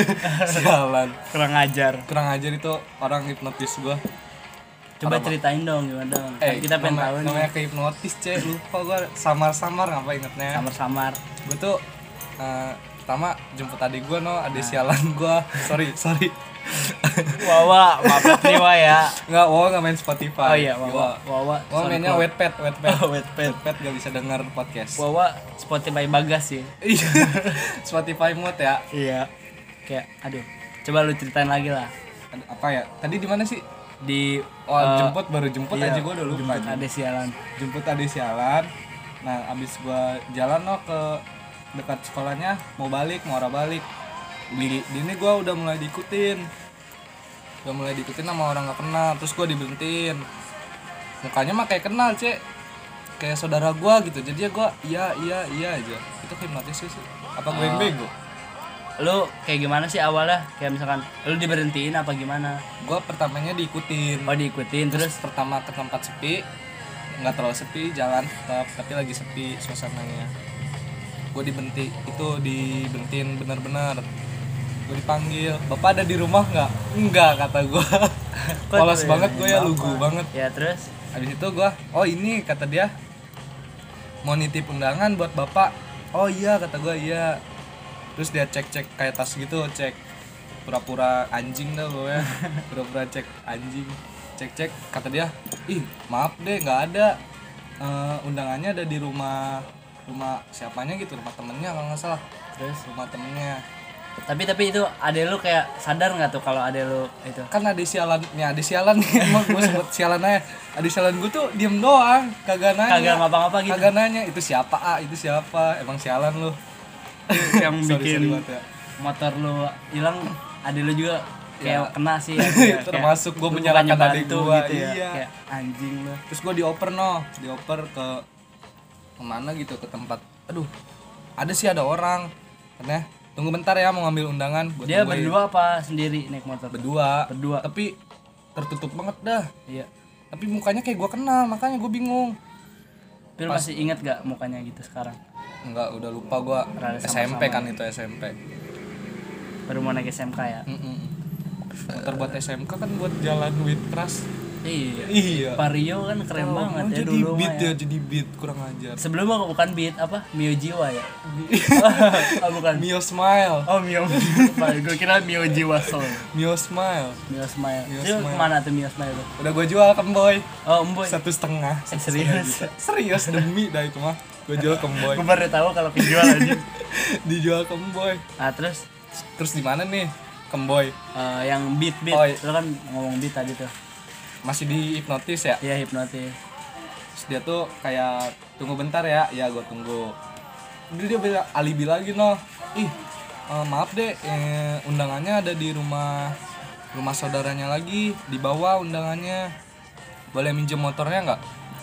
Speaker 1: Jalan.
Speaker 2: kurang ajar
Speaker 1: Kurang ajar itu orang hipnotis gue.
Speaker 2: coba ceritain dong gimana dong
Speaker 1: Eh,
Speaker 2: Kan kita pengen tahu
Speaker 1: namanya,
Speaker 2: nih
Speaker 1: namanya kehipnotis cek lupa gue samar-samar ngapa ingetnya
Speaker 2: samar-samar
Speaker 1: gue tuh eh, pertama jemput adik gue no adik
Speaker 2: Nah.
Speaker 1: sialan gue
Speaker 2: [LAUGHS]
Speaker 1: sorry sorry [LAUGHS]
Speaker 2: wawa maaf nih wa ya
Speaker 1: nggak wow nggak main Spotify
Speaker 2: oh iya wawa [LAUGHS] wawa
Speaker 1: wow
Speaker 2: sorry,
Speaker 1: mainnya
Speaker 2: Wa.
Speaker 1: wetpad wetpad
Speaker 2: Oh, [LAUGHS] Wattpad.
Speaker 1: wetpad gak bisa denger podcast
Speaker 2: wawa Spotify bagas sih
Speaker 1: Iya. [LAUGHS] Spotify mood ya
Speaker 2: iya kayak aduh coba lu ceritain lagi lah
Speaker 1: Ad- apa ya tadi di mana sih
Speaker 2: di
Speaker 1: oh
Speaker 2: Eh,
Speaker 1: jemput baru jemput
Speaker 2: iya,
Speaker 1: aja gue udah lupa jemput,
Speaker 2: ada sialan
Speaker 1: adik sialan nah abis gue jalan no ke dekat sekolahnya mau balik mau arah balik di, di ini gue udah mulai diikutin udah mulai diikutin sama orang gak kenal terus gue dibentin mukanya mah kayak kenal cek kayak saudara gue gitu jadi gue iya iya iya aja itu hipnotis sih apa gue yang bego
Speaker 2: lu kayak gimana sih awalnya kayak misalkan lu diberhentiin apa gimana
Speaker 1: gue pertamanya diikutin
Speaker 2: oh diikutin
Speaker 1: terus
Speaker 2: terus
Speaker 1: pertama ke tempat sepi nggak terlalu sepi jalan tetap tapi lagi sepi suasananya gue dibenti itu dibentin bener-bener gue dipanggil bapak ada di rumah nggak enggak kata gue polos banget gue ya lugu banget
Speaker 2: ya terus
Speaker 1: habis itu gue oh ini kata dia mau nitip undangan buat bapak oh iya kata gue iya terus dia cek cek kayak tas gitu cek pura-pura anjing dah pokoknya pura-pura cek anjing cek cek kata dia ih maaf deh nggak ada Eh, undangannya ada di rumah rumah siapanya gitu rumah temennya kalau nggak salah
Speaker 2: terus
Speaker 1: rumah temennya
Speaker 2: tapi tapi itu ade lu kayak sadar nggak tuh kalau ade lu itu
Speaker 1: kan ada sialan ya ada sialan nih [LAUGHS] emang gue sebut sialan aja ada sialan gue tuh diem doang kagak nanya
Speaker 2: Kagak ngapa-ngapa gitu?
Speaker 1: kagak nanya itu siapa ah itu siapa emang sialan lu
Speaker 2: [LAUGHS] yang
Speaker 1: Sorry, sorry
Speaker 2: bikin
Speaker 1: banget ya.
Speaker 2: motor lu hilang ade lu juga kayak kena
Speaker 1: [LAUGHS]
Speaker 2: sih ya,
Speaker 1: Iya. Termasuk gua
Speaker 2: lu
Speaker 1: menyalahkan
Speaker 2: bukannya
Speaker 1: adik
Speaker 2: bantu
Speaker 1: gua,
Speaker 2: gitu ya
Speaker 1: iya.
Speaker 2: kayak anjing lu
Speaker 1: terus gue dioper no dioper ke kemana gitu ke tempat aduh ada sih ada orang katanya tunggu bentar ya mau ngambil undangan Gua
Speaker 2: dia
Speaker 1: tungguin.
Speaker 2: berdua apa sendiri naik motor
Speaker 1: berdua
Speaker 2: Berdua.
Speaker 1: tapi tertutup banget dah
Speaker 2: iya
Speaker 1: tapi mukanya kayak gue kenal makanya gue bingung
Speaker 2: tapi lu masih inget gak mukanya gitu sekarang
Speaker 1: Enggak, udah lupa gua
Speaker 2: Rada ya.
Speaker 1: SMP kan itu SMP.
Speaker 2: baru mau naik SMK ya
Speaker 1: Mm-mm. Motor buat SMK kan buat jalan with trust.
Speaker 2: iya
Speaker 1: Iya.
Speaker 2: Vario kan keren banget ya
Speaker 1: jadi
Speaker 2: dulu
Speaker 1: beat
Speaker 2: mah ya.
Speaker 1: ya, jadi beat kurang ajar.
Speaker 2: Sebelumnya kok bukan beat apa? Mio Jiwa
Speaker 1: [LAUGHS]
Speaker 2: ya. oh, bukan.
Speaker 1: Mio Smile,
Speaker 2: Oh [LAUGHS] Mio. gue kira Mio Jiwa Soul.
Speaker 1: Mio Smile.
Speaker 2: Mio Smile.
Speaker 1: Mio
Speaker 2: Itu
Speaker 1: Smile.
Speaker 2: kemana tuh Mio Smile tuh?
Speaker 1: Udah gua jual ke Mboy.
Speaker 2: Oh Emboy.
Speaker 1: Satu setengah.
Speaker 2: Eh, serius.
Speaker 1: Serius demi dah itu mah. Gua jual ke Mboy.
Speaker 2: Gue baru tahu kalau kejual aja.
Speaker 1: [LAUGHS] Dijual ke Mboy.
Speaker 2: Nah terus
Speaker 1: Terus di mana nih? Ke Mboy.
Speaker 2: eh, yang beat beat,
Speaker 1: Oh, iya.
Speaker 2: lo kan ngomong beat tadi tuh.
Speaker 1: Masih di hipnotis ya?
Speaker 2: Iya hipnotis.
Speaker 1: Terus dia tuh kayak tunggu bentar ya, ya gue tunggu. Terus dia bilang alibi lagi noh, ih eh, maaf deh eh, undangannya ada di rumah rumah saudaranya lagi di bawah undangannya. Boleh minjem motornya nggak?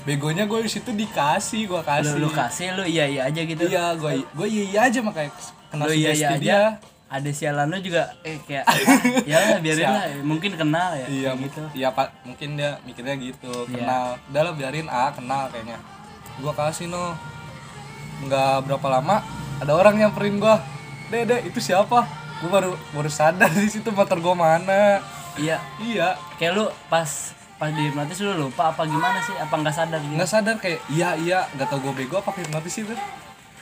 Speaker 1: Begonya gue di situ dikasih, gue
Speaker 2: Lu,
Speaker 1: kasih.
Speaker 2: lu kasih, lu iya iya aja gitu.
Speaker 1: Iya, gue gue iya iya aja makanya kena
Speaker 2: Lu iya iya
Speaker 1: sugesti
Speaker 2: aja.
Speaker 1: dia.
Speaker 2: Ada sialan lu juga eh kayak
Speaker 1: [LAUGHS]
Speaker 2: ya lah biarin lah mungkin kenal ya.
Speaker 1: Iya
Speaker 2: kayak
Speaker 1: gitu. Iya pak, mungkin dia mikirnya gitu.
Speaker 2: Iya.
Speaker 1: Kenal, udah lah biarin ah kenal kayaknya. Gua kasih no. Nggak berapa lama ada orang nyamperin gua. Dede itu siapa? Gua baru baru sadar di situ motor gua mana.
Speaker 2: Iya,
Speaker 1: Iya,
Speaker 2: kayak lu pas pas di hipnotis lu lupa apa gimana sih apa nggak sadar
Speaker 1: [LAUGHS]
Speaker 2: gitu
Speaker 1: nggak sadar kayak iya iya nggak tau gua bego apa hipnotis itu.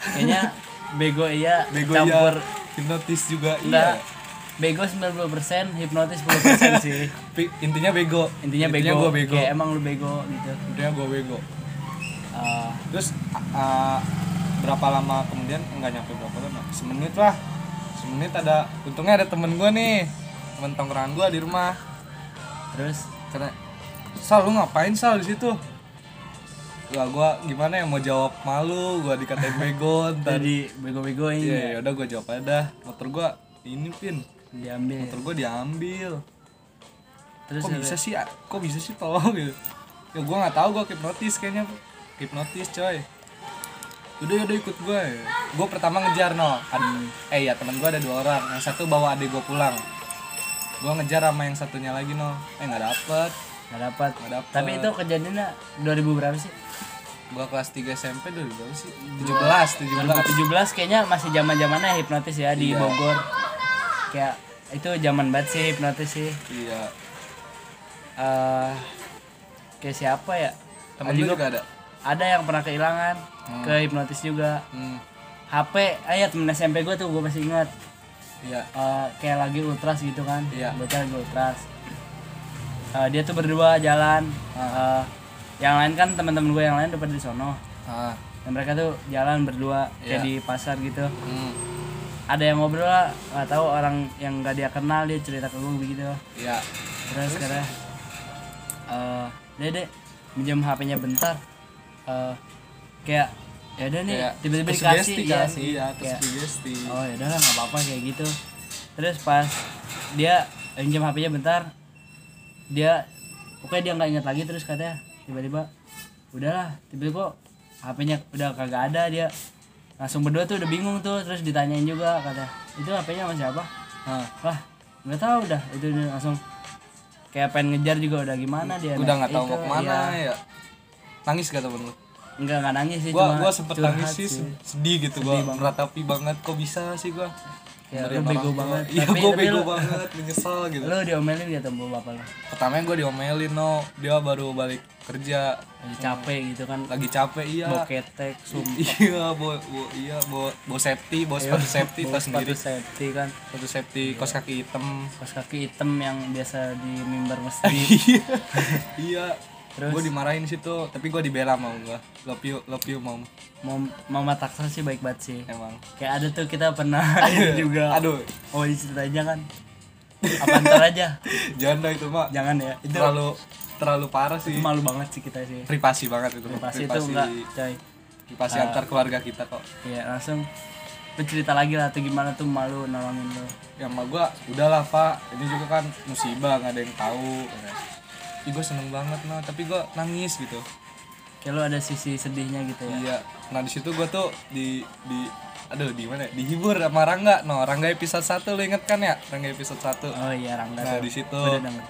Speaker 2: kayaknya bego iya
Speaker 1: Bego
Speaker 2: campur
Speaker 1: iya, hipnotis juga
Speaker 2: enggak
Speaker 1: iya.
Speaker 2: bego 90% hipnotis 10% sih
Speaker 1: Pi- intinya bego
Speaker 2: intinya bego,
Speaker 1: intinya gue bego
Speaker 2: kayak emang lu bego gitu
Speaker 1: intinya gue bego
Speaker 2: Eh,
Speaker 1: terus a- a- berapa lama kemudian enggak nyampe berapa lama semenit lah semenit ada untungnya ada temen gue nih temen tongkrongan gue di rumah
Speaker 2: terus
Speaker 1: karena sal lu ngapain sal di situ lah gue gimana yang mau jawab malu gue dikatain bego ntar
Speaker 2: tadi bego-begoin
Speaker 1: ya ya udah gue jawab aja dah motor gue ini pin
Speaker 2: diambil
Speaker 1: motor gue diambil
Speaker 2: terus
Speaker 1: kok bisa sih ah? kok bisa sih tolong gitu ya gue nggak tahu gue hipnotis kayaknya hipnotis coy udah udah ikut gue gue pertama ngejar no Ad- eh ya teman gue ada dua orang yang satu bawa adik gue pulang gue ngejar sama yang satunya lagi no eh nggak dapet
Speaker 2: nggak dapat
Speaker 1: Nggak dapet.
Speaker 2: tapi itu kejadiannya 2000 berapa sih
Speaker 1: gue kelas 3 SMP dulu berapa sih 17 17
Speaker 2: 2017 kayaknya masih zaman zamannya hipnotis ya
Speaker 1: Iya.
Speaker 2: di Bogor kayak itu zaman banget sih hipnotis sih
Speaker 1: iya
Speaker 2: Eh, kayak siapa ya
Speaker 1: temen lu juga ada
Speaker 2: ada yang pernah kehilangan ke hipnotis juga
Speaker 1: hmm
Speaker 2: HP ayat temen SMP gue tuh gue masih ingat
Speaker 1: iya
Speaker 2: Eh, kayak lagi ultras gitu kan
Speaker 1: Iya.
Speaker 2: bocah lagi ultras Eh, dia tuh berdua jalan Eh, yang lain kan teman-teman gue yang lain udah pada di sono
Speaker 1: ah
Speaker 2: dan mereka tuh jalan berdua
Speaker 1: Iya.
Speaker 2: kayak di pasar gitu
Speaker 1: hmm
Speaker 2: ada yang ngobrol lah nggak tahu orang yang nggak dia kenal dia cerita ke gue begitu
Speaker 1: iya
Speaker 2: terus karena eh dede minjem HP-nya bentar Eh, kayak ya udah nih
Speaker 1: Kayak
Speaker 2: tiba-tiba
Speaker 1: tersugesti
Speaker 2: dikasih
Speaker 1: kan?
Speaker 2: ya
Speaker 1: iya
Speaker 2: kayak
Speaker 1: tersugesti
Speaker 2: oh ya udah lah, nggak apa-apa kayak gitu terus pas dia minjem HP-nya bentar dia pokoknya dia nggak ingat lagi terus katanya tiba-tiba udahlah tiba-tiba kok HP-nya udah kagak ada dia langsung berdua tuh udah bingung tuh terus ditanyain juga kata itu HP-nya sama siapa
Speaker 1: Ah,
Speaker 2: wah nggak tahu dah itu dia langsung kayak pengen ngejar juga udah gimana dia
Speaker 1: udah nggak tahu
Speaker 2: iya, nah, Itu,
Speaker 1: mau kemana ya nangis gak temen lu
Speaker 2: iya. nggak nggak nangis sih
Speaker 1: gua
Speaker 2: cuma
Speaker 1: gua sempet
Speaker 2: curhat
Speaker 1: nangis sih sedih gitu gua meratapi banget kok bisa sih gua
Speaker 2: Ya,
Speaker 1: Pemberian
Speaker 2: lu bego
Speaker 1: orang tua.
Speaker 2: banget.
Speaker 1: iya
Speaker 2: Tapi-
Speaker 1: gua
Speaker 2: tapi
Speaker 1: bego
Speaker 2: lu-
Speaker 1: banget menyesal
Speaker 2: [LAUGHS]
Speaker 1: gitu
Speaker 2: lu diomelin gitu sama bapak lu
Speaker 1: pertama gua diomelin no dia baru balik kerja
Speaker 2: Lagi capek gitu kan
Speaker 1: lagi capek iya
Speaker 2: mau ketek sumpah
Speaker 1: [LAUGHS] iya bo, bo- iya bo, bo safety bo sepatu safety
Speaker 2: Bawa
Speaker 1: tas sendiri
Speaker 2: sepatu safety kan
Speaker 1: sepatu safety kos kaki hitam
Speaker 2: pas kaki hitam yang biasa di mimbar
Speaker 1: [LAUGHS]
Speaker 2: masjid
Speaker 1: iya iya gua dimarahin situ tapi gua dibela mau gua love you love you mom
Speaker 2: mau mama taksel sih baik banget sih
Speaker 1: emang
Speaker 2: kayak ada tuh kita
Speaker 1: [LAUGHS]
Speaker 2: pernah ini juga
Speaker 1: aduh
Speaker 2: oh ceritanya kan apa ntar aja
Speaker 1: janda itu mak
Speaker 2: jangan ya itu
Speaker 1: terlalu terlalu parah sih
Speaker 2: malu banget sih kita sih
Speaker 1: privasi banget itu
Speaker 2: pasti itu enggak Ah. coy
Speaker 1: privasi antar keluarga kita kok
Speaker 2: Iya langsung lu cerita lagi lah tuh gimana tuh malu nolongin lu
Speaker 1: ya sama gua udahlah pak ini juga kan musibah nggak ada yang tahu Ih gue seneng banget no tapi gua nangis gitu
Speaker 2: kayak lu ada sisi sedihnya gitu ya
Speaker 1: iya nah di situ gua tuh di di aduh di mana ya? dihibur sama Rangga no Rangga episode 1 lu inget kan ya Rangga episode 1
Speaker 2: oh iya Rangga
Speaker 1: nah
Speaker 2: tuh
Speaker 1: di situ
Speaker 2: Gua udah denger.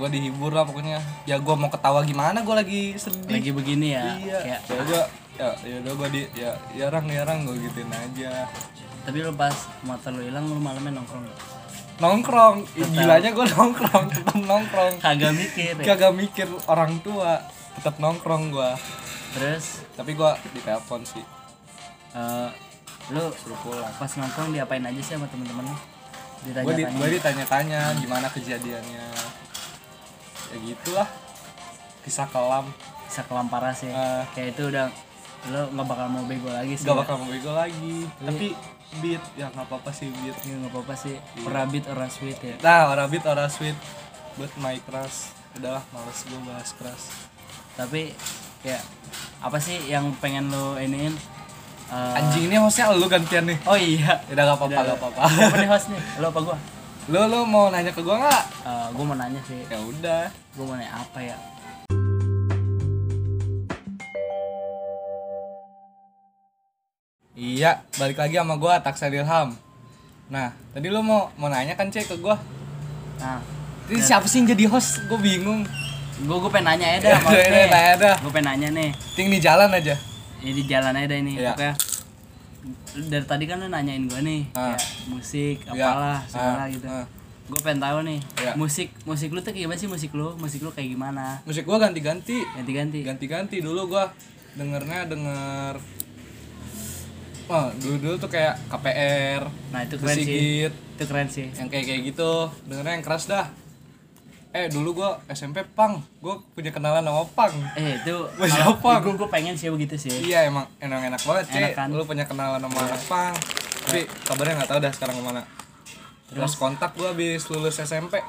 Speaker 1: gua dihibur lah pokoknya ya gua mau ketawa gimana gua lagi sedih
Speaker 2: lagi begini ya
Speaker 1: iya
Speaker 2: kayak
Speaker 1: ya gua ya ya udah gua di ya ya rang ya rang gua gituin aja
Speaker 2: tapi lu pas motor lu hilang lu malamnya nongkrong ya? nggak?
Speaker 1: nongkrong Ih, gilanya gue [LAUGHS] nongkrong tetap nongkrong
Speaker 2: kagak mikir ya.
Speaker 1: kagak mikir orang tua tetap nongkrong gua
Speaker 2: terus
Speaker 1: tapi gua ditelepon sih
Speaker 2: eh, lu
Speaker 1: suruh pulang
Speaker 2: pas nongkrong diapain aja sih sama temen-temen lu ya,
Speaker 1: gue di,
Speaker 2: ditanya
Speaker 1: gua ditanya-tanya gimana kejadiannya ya gitulah kisah kelam
Speaker 2: bisa kelampar sih
Speaker 1: Eh.
Speaker 2: ya. kayak itu udah lu nggak bakal mau bego lagi sih
Speaker 1: gak bakal mau bego lagi tapi beat ya nggak apa-apa sih beat
Speaker 2: ya nggak apa-apa sih
Speaker 1: Iya.
Speaker 2: perabit orang sweet ya
Speaker 1: nah orang beat orang sweet buat my crush udahlah males gue bahas crush
Speaker 2: tapi kayak apa sih yang pengen lu iniin Eh,
Speaker 1: anjing ini hostnya lu gantian nih
Speaker 2: oh iya
Speaker 1: udah gak apa-apa gak apa-apa [LAUGHS]
Speaker 2: siapa nih host nih lo apa gua
Speaker 1: lu lu mau nanya ke gua nggak
Speaker 2: Eh gua mau nanya sih
Speaker 1: ya udah
Speaker 2: gua mau nanya apa ya
Speaker 1: Iya, balik lagi sama gua Taksel Ilham. Nah, tadi lu mau mau nanya kan cek ke gua.
Speaker 2: nah
Speaker 1: Ini siapa sih yang jadi host? Gua bingung.
Speaker 2: gua gua pengen nanya ya dah [LAUGHS] sama lu
Speaker 1: Udah, udah,
Speaker 2: nih
Speaker 1: tanya dah.
Speaker 2: gua pengen nanya nih
Speaker 1: Ting di jalan aja.
Speaker 2: ini di jalan aja dah ini
Speaker 1: Iya.
Speaker 2: pokoknya dari tadi kan lu nanyain gua nih
Speaker 1: Ah.
Speaker 2: kayak musik
Speaker 1: Iya.
Speaker 2: apalah segala
Speaker 1: Ah,
Speaker 2: gitu
Speaker 1: ah.
Speaker 2: gua pengen tahu nih
Speaker 1: Iya.
Speaker 2: musik musik lu tuh kayak gimana sih musik lu musik lu kayak gimana
Speaker 1: Musik gua ganti-ganti.
Speaker 2: ganti-ganti
Speaker 1: Ganti-ganti dulu gua dengernya denger wah dulu dulu tuh kayak KPR
Speaker 2: Nah, itu keren sih.
Speaker 1: Sigit
Speaker 2: Itu keren sih.
Speaker 1: yang kayak kayak gitu dengernya yang keras dah eh dulu gua SMP pang gua punya kenalan sama pang
Speaker 2: Eh, itu
Speaker 1: Wah, siapa?
Speaker 2: Gue gue pengen sih begitu sih.
Speaker 1: iya emang emang enak banget sih
Speaker 2: Enak kan?
Speaker 1: lu punya kenalan sama anak pang tapi kabarnya nggak tahu dah sekarang kemana terus kontak gua habis lulus SMP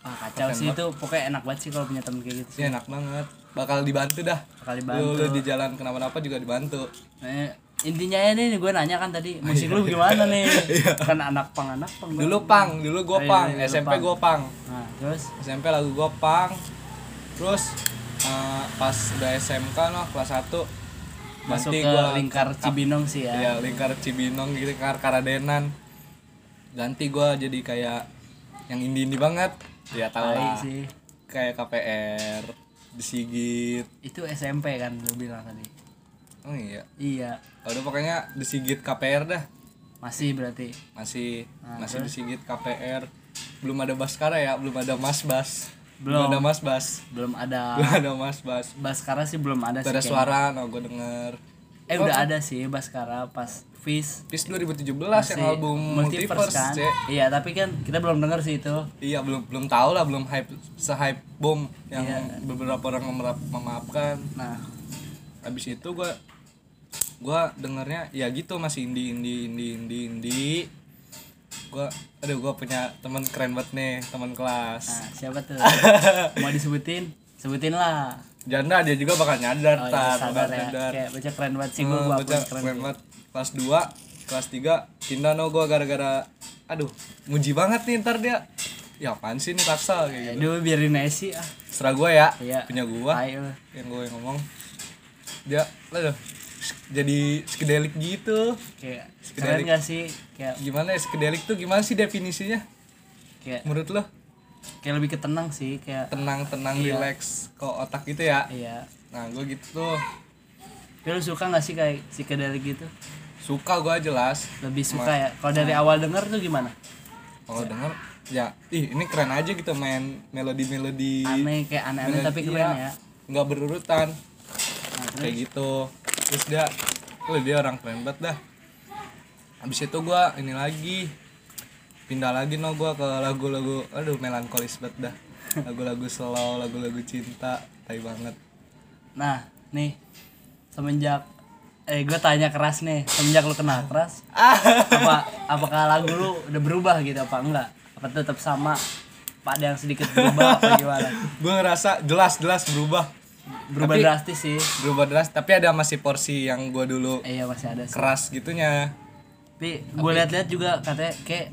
Speaker 2: Wah, kacau sih itu pokoknya enak banget sih kalau punya temen kayak gitu sih.
Speaker 1: ya enak banget bakal dibantu dah
Speaker 2: Kali
Speaker 1: lu,
Speaker 2: bantu.
Speaker 1: lu di jalan kenapa-napa juga dibantu
Speaker 2: Eh, intinya ini gue nanya kan tadi
Speaker 1: Oh, iya,
Speaker 2: musik lu gimana
Speaker 1: [LAUGHS]
Speaker 2: nih? kan anak pang anak pang. Bang.
Speaker 1: dulu pang dulu gua
Speaker 2: Oh, iya,
Speaker 1: pang
Speaker 2: iya, dulu
Speaker 1: SMP
Speaker 2: pang.
Speaker 1: gua pang
Speaker 2: Nah, terus
Speaker 1: SMP lagu gua pang terus eh, pas udah SMK noh kelas 1
Speaker 2: masuk ke lingkar Cibinong sih ya.
Speaker 1: Iya, lingkar Cibinong gitu, lingkar Karadenan. Ganti gua jadi kayak yang indie-indie banget. Ya tahu
Speaker 2: Tai
Speaker 1: lah.
Speaker 2: sih.
Speaker 1: Kayak KPR, Desigit.
Speaker 2: Itu SMP kan lu bilang tadi.
Speaker 1: Oh iya.
Speaker 2: Iya,
Speaker 1: Udah pokoknya Desigit KPR dah.
Speaker 2: masih berarti.
Speaker 1: Masih
Speaker 2: Nah,
Speaker 1: masih Desigit KPR. Belum ada Baskara ya, belum ada Mas Bas.
Speaker 2: Belum. Ah.
Speaker 1: ada Mas Bas.
Speaker 2: Belum ada
Speaker 1: Belum ada Mas Bas.
Speaker 2: Baskara sih belum ada
Speaker 1: Gak ada
Speaker 2: sih. kayaknya.
Speaker 1: suara, no gue denger.
Speaker 2: Eh, udah ada sih Baskara pas Fish
Speaker 1: Pis 2017 yang
Speaker 2: si
Speaker 1: album Multiverse,
Speaker 2: kan.
Speaker 1: Cek.
Speaker 2: Iya, tapi kan kita belum denger sih itu.
Speaker 1: Iya belum belum tahu lah belum hype se hype bom yang
Speaker 2: Iya.
Speaker 1: beberapa orang memerap- memaafkan.
Speaker 2: Nah,
Speaker 1: Habis itu gua gua dengernya ya gitu masih indie indie indie indie indie. Gua aduh gua punya teman keren banget nih, teman kelas.
Speaker 2: nah siapa
Speaker 1: [LAUGHS]
Speaker 2: tuh? Mau disebutin? Sebutin lah.
Speaker 1: Janda dia juga bakal nyadar
Speaker 2: Oh,
Speaker 1: tar,
Speaker 2: ya, sabar
Speaker 1: bakal
Speaker 2: ya.
Speaker 1: nyadar.
Speaker 2: Kayak baca keren banget sih
Speaker 1: Hmm,
Speaker 2: gua, gua
Speaker 1: bocah
Speaker 2: akuin keren.
Speaker 1: keren banget. Kelas 2, kelas 3 pindah no gua gara-gara aduh muji banget nih ntar dia. Ya apaan sih nih taksa kayak gitu.
Speaker 2: Aduh, biarin aja sih ah.
Speaker 1: Serah gua ya,
Speaker 2: Iya.
Speaker 1: punya gua.
Speaker 2: Ayo.
Speaker 1: yang gue ngomong dia aduh, jadi skedelik gitu
Speaker 2: Kayak
Speaker 1: Skedelik.
Speaker 2: keren gak sih? Kayak
Speaker 1: gimana ya skedelik tuh gimana sih definisinya
Speaker 2: kayak
Speaker 1: menurut lo
Speaker 2: kayak lebih ketenang sih kayak
Speaker 1: tenang tenang relax kok otak gitu ya
Speaker 2: iya.
Speaker 1: nah gue gitu tuh
Speaker 2: Tapi lu suka gak sih kayak psikedelik gitu?
Speaker 1: suka gue jelas
Speaker 2: Lebih suka ya. Kalau dari awal denger tuh gimana?
Speaker 1: kalau
Speaker 2: Iya.
Speaker 1: denger ya ih ini keren aja gitu main melodi melodi
Speaker 2: Aneh kayak aneh-aneh tapi keren ya.
Speaker 1: Iya, nggak berurutan
Speaker 2: Nah, terus
Speaker 1: kayak gitu terus dia oh dia orang keren banget dah habis itu gua ini lagi pindah lagi no gua ke lagu-lagu aduh melankolis banget dah lagu-lagu slow lagu-lagu cinta tai
Speaker 2: [LAUGHS]
Speaker 1: banget
Speaker 2: Nah, nih semenjak eh gue tanya keras nih, semenjak lu kenal keras, apa apakah lagu lu udah berubah gitu apa enggak? Apa tetap sama? Apa ada yang sedikit berubah apa gimana?
Speaker 1: gua ngerasa jelas-jelas berubah
Speaker 2: Berubah
Speaker 1: Tapi-
Speaker 2: drastis sih.
Speaker 1: berubah deras tapi ada masih porsi yang gua dulu
Speaker 2: Eh, iya masih ada sih.
Speaker 1: keras gitunya
Speaker 2: Tapi gue lihat-lihat juga katanya kayak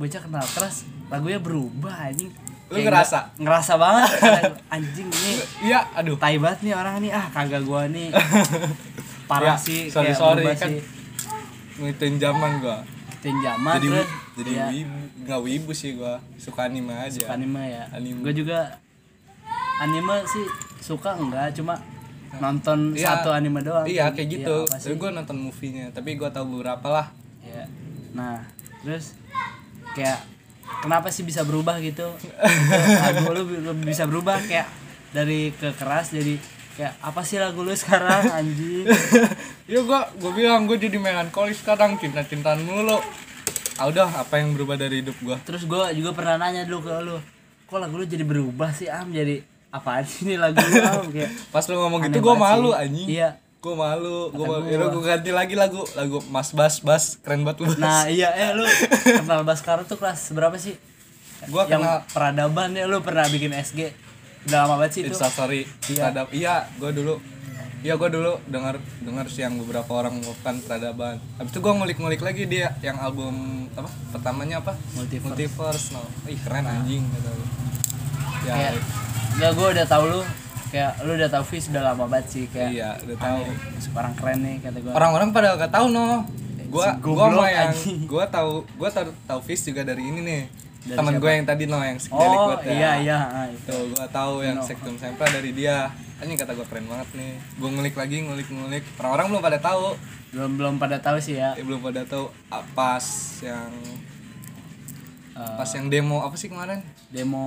Speaker 2: bocah kenal keras, lagunya berubah anjing.
Speaker 1: Lu ngerasa?
Speaker 2: nggak- Ngerasa banget [LAUGHS] kayak, anjing nih.
Speaker 1: iya aduh [LAUGHS]
Speaker 2: Tai banget nih orang nih ah kagak gua nih.
Speaker 1: Ya,
Speaker 2: Parah sih
Speaker 1: sorry
Speaker 2: kayak
Speaker 1: sorry
Speaker 2: berubah
Speaker 1: kan
Speaker 2: sih.
Speaker 1: ngikutin zaman gua
Speaker 2: Pinjaman
Speaker 1: jadi wi-
Speaker 2: kan.
Speaker 1: jadi
Speaker 2: Iya.
Speaker 1: wibu nggak wibu sih gua suka anime aja
Speaker 2: anime ya
Speaker 1: Anime.
Speaker 2: gue juga anime sih suka enggak cuma nonton
Speaker 1: Iya.
Speaker 2: satu anime doang
Speaker 1: Iya kayak gitu.
Speaker 2: apa sih?
Speaker 1: Tapi gue nonton movie-nya, tapi gue tahu beberapa lah. [LAUGHS]
Speaker 2: Iya. nah terus kayak kenapa sih bisa berubah
Speaker 1: [LAUGHS]
Speaker 2: gitu lagu lu bi- lu bisa berubah kayak dari ke keras jadi kayak apa sih lagu lu sekarang anjing
Speaker 1: Iya gue gue bilang gue jadi melankolis sekarang cinta-cintaan mulu. Ah udah apa yang berubah dari hidup gue?
Speaker 2: terus gue juga pernah nanya dulu ke lu kok lagu lu jadi berubah sih am jadi apaan sih ini lagu lu am kayak
Speaker 1: Pas lu ngomong
Speaker 2: Aneh
Speaker 1: gitu gue
Speaker 2: banget sih.
Speaker 1: malu anjing.
Speaker 2: Iya.
Speaker 1: Gue malu. Gue
Speaker 2: Kata
Speaker 1: malu.
Speaker 2: gua.
Speaker 1: Yaudah gue ganti lagi lagu lagu Mas Bas Bas keren banget lu. Bas.
Speaker 2: Nah iya eh lu kenal Baskara tuh kelas berapa sih?
Speaker 1: Gua
Speaker 2: yang
Speaker 1: kenal-
Speaker 2: peradaban ya lu pernah bikin SG udah lama banget sih itu.
Speaker 1: Insta story.
Speaker 2: Iya.
Speaker 1: Iya. Iya gue dulu. Iya gue dulu dengar dengar siang beberapa orang melakukan peradaban. Habis itu gue ngulik-ngulik lagi dia yang album apa pertamanya apa?
Speaker 2: Multiverse.
Speaker 1: Multiverse. No. Ih keren anjing kata lu. Ya,
Speaker 2: Kayak ya gua udah tahu lu kayak lu udah tahu Fis udah lama banget sih kayak
Speaker 1: Iya, udah tahu.
Speaker 2: sekarang keren nih kata gua.
Speaker 1: Orang-orang pada gak tahu no. Gua
Speaker 2: Si
Speaker 1: gua
Speaker 2: goblok
Speaker 1: mah yang
Speaker 2: anjing.
Speaker 1: gua tahu gua tahu tahu Fis juga dari ini nih.
Speaker 2: Dari
Speaker 1: Temen
Speaker 2: siapa?
Speaker 1: gue yang tadi no yang skedelik
Speaker 2: oh
Speaker 1: buat ya.
Speaker 2: iya iya ah, itu.
Speaker 1: Tuh, gua tahu yang sektum sampel dari dia. Anjing kata gua keren banget nih. Gua ngulik lagi, ngulik-ngulik. Orang-orang belum pada tahu.
Speaker 2: belum belum pada tahu sih ya.
Speaker 1: Ya, belum pada tahu ah,
Speaker 2: Eh.
Speaker 1: pas yang pas yang demo apa sih kemarin?
Speaker 2: Demo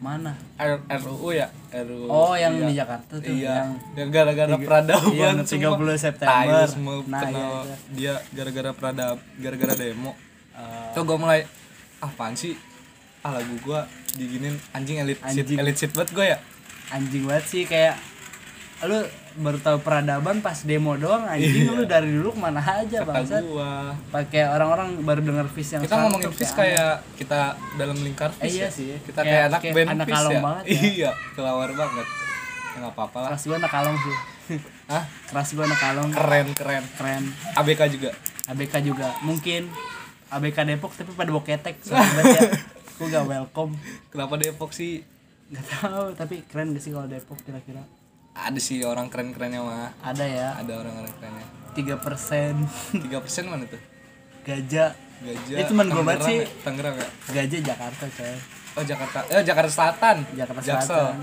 Speaker 2: Mana?
Speaker 1: R- RUU ya RUU
Speaker 2: Oh, yang
Speaker 1: iya.
Speaker 2: di Jakarta tuh
Speaker 1: iya
Speaker 2: yang
Speaker 1: yang gara-gara peradaban
Speaker 2: iya, yang
Speaker 1: semua.
Speaker 2: 30 September.
Speaker 1: Tai semua
Speaker 2: Nah,
Speaker 1: kena
Speaker 2: iya, iya.
Speaker 1: dia gara-gara peradab gara-gara demo
Speaker 2: eh,
Speaker 1: tuh gue mulai ah apaan sih ah lagu gue diginin anjing elit shit
Speaker 2: Anjing.
Speaker 1: elit shit banget gue ya
Speaker 2: anjing banget sih kayak lu baru tahu peradaban pas demo doang anjing
Speaker 1: Iya.
Speaker 2: lu dari dulu kemana aja
Speaker 1: kata
Speaker 2: bangsat
Speaker 1: gue
Speaker 2: pakai orang-orang baru denger Fis yang
Speaker 1: kita
Speaker 2: satu
Speaker 1: ngomongin fis kayak kita dalam lingkar
Speaker 2: Eh,
Speaker 1: fis
Speaker 2: ya. iya
Speaker 1: ya.
Speaker 2: sih.
Speaker 1: kita
Speaker 2: Kayak-
Speaker 1: kayak, anak
Speaker 2: kayak
Speaker 1: band
Speaker 2: anak
Speaker 1: Fis
Speaker 2: kalem
Speaker 1: ya.
Speaker 2: banget ya.
Speaker 1: [LAUGHS] iya kelawar banget ya nggak apa-apa lah
Speaker 2: keras gue anak kalong sih
Speaker 1: ah
Speaker 2: keras gue anak kalong
Speaker 1: keren keren
Speaker 2: keren
Speaker 1: ABK juga
Speaker 2: ABK juga mungkin ABK Depok tapi pada boketek
Speaker 1: [LAUGHS]
Speaker 2: soalnya ya gue gak welcome
Speaker 1: kenapa Depok sih
Speaker 2: gak tahu tapi keren gak sih kalau Depok kira-kira
Speaker 1: ada sih orang keren kerennya mah
Speaker 2: ada ya
Speaker 1: ada orang-orang kerennya
Speaker 2: tiga persen
Speaker 1: tiga persen mana tuh
Speaker 2: gajah
Speaker 1: Gajah
Speaker 2: Eh, cuman gua banget
Speaker 1: Tangerang
Speaker 2: sih.
Speaker 1: ya? Tangerang ya
Speaker 2: gajah Jakarta coy
Speaker 1: oh Jakarta eh Jakarta Selatan
Speaker 2: Jakarta
Speaker 1: Jaksel.
Speaker 2: Selatan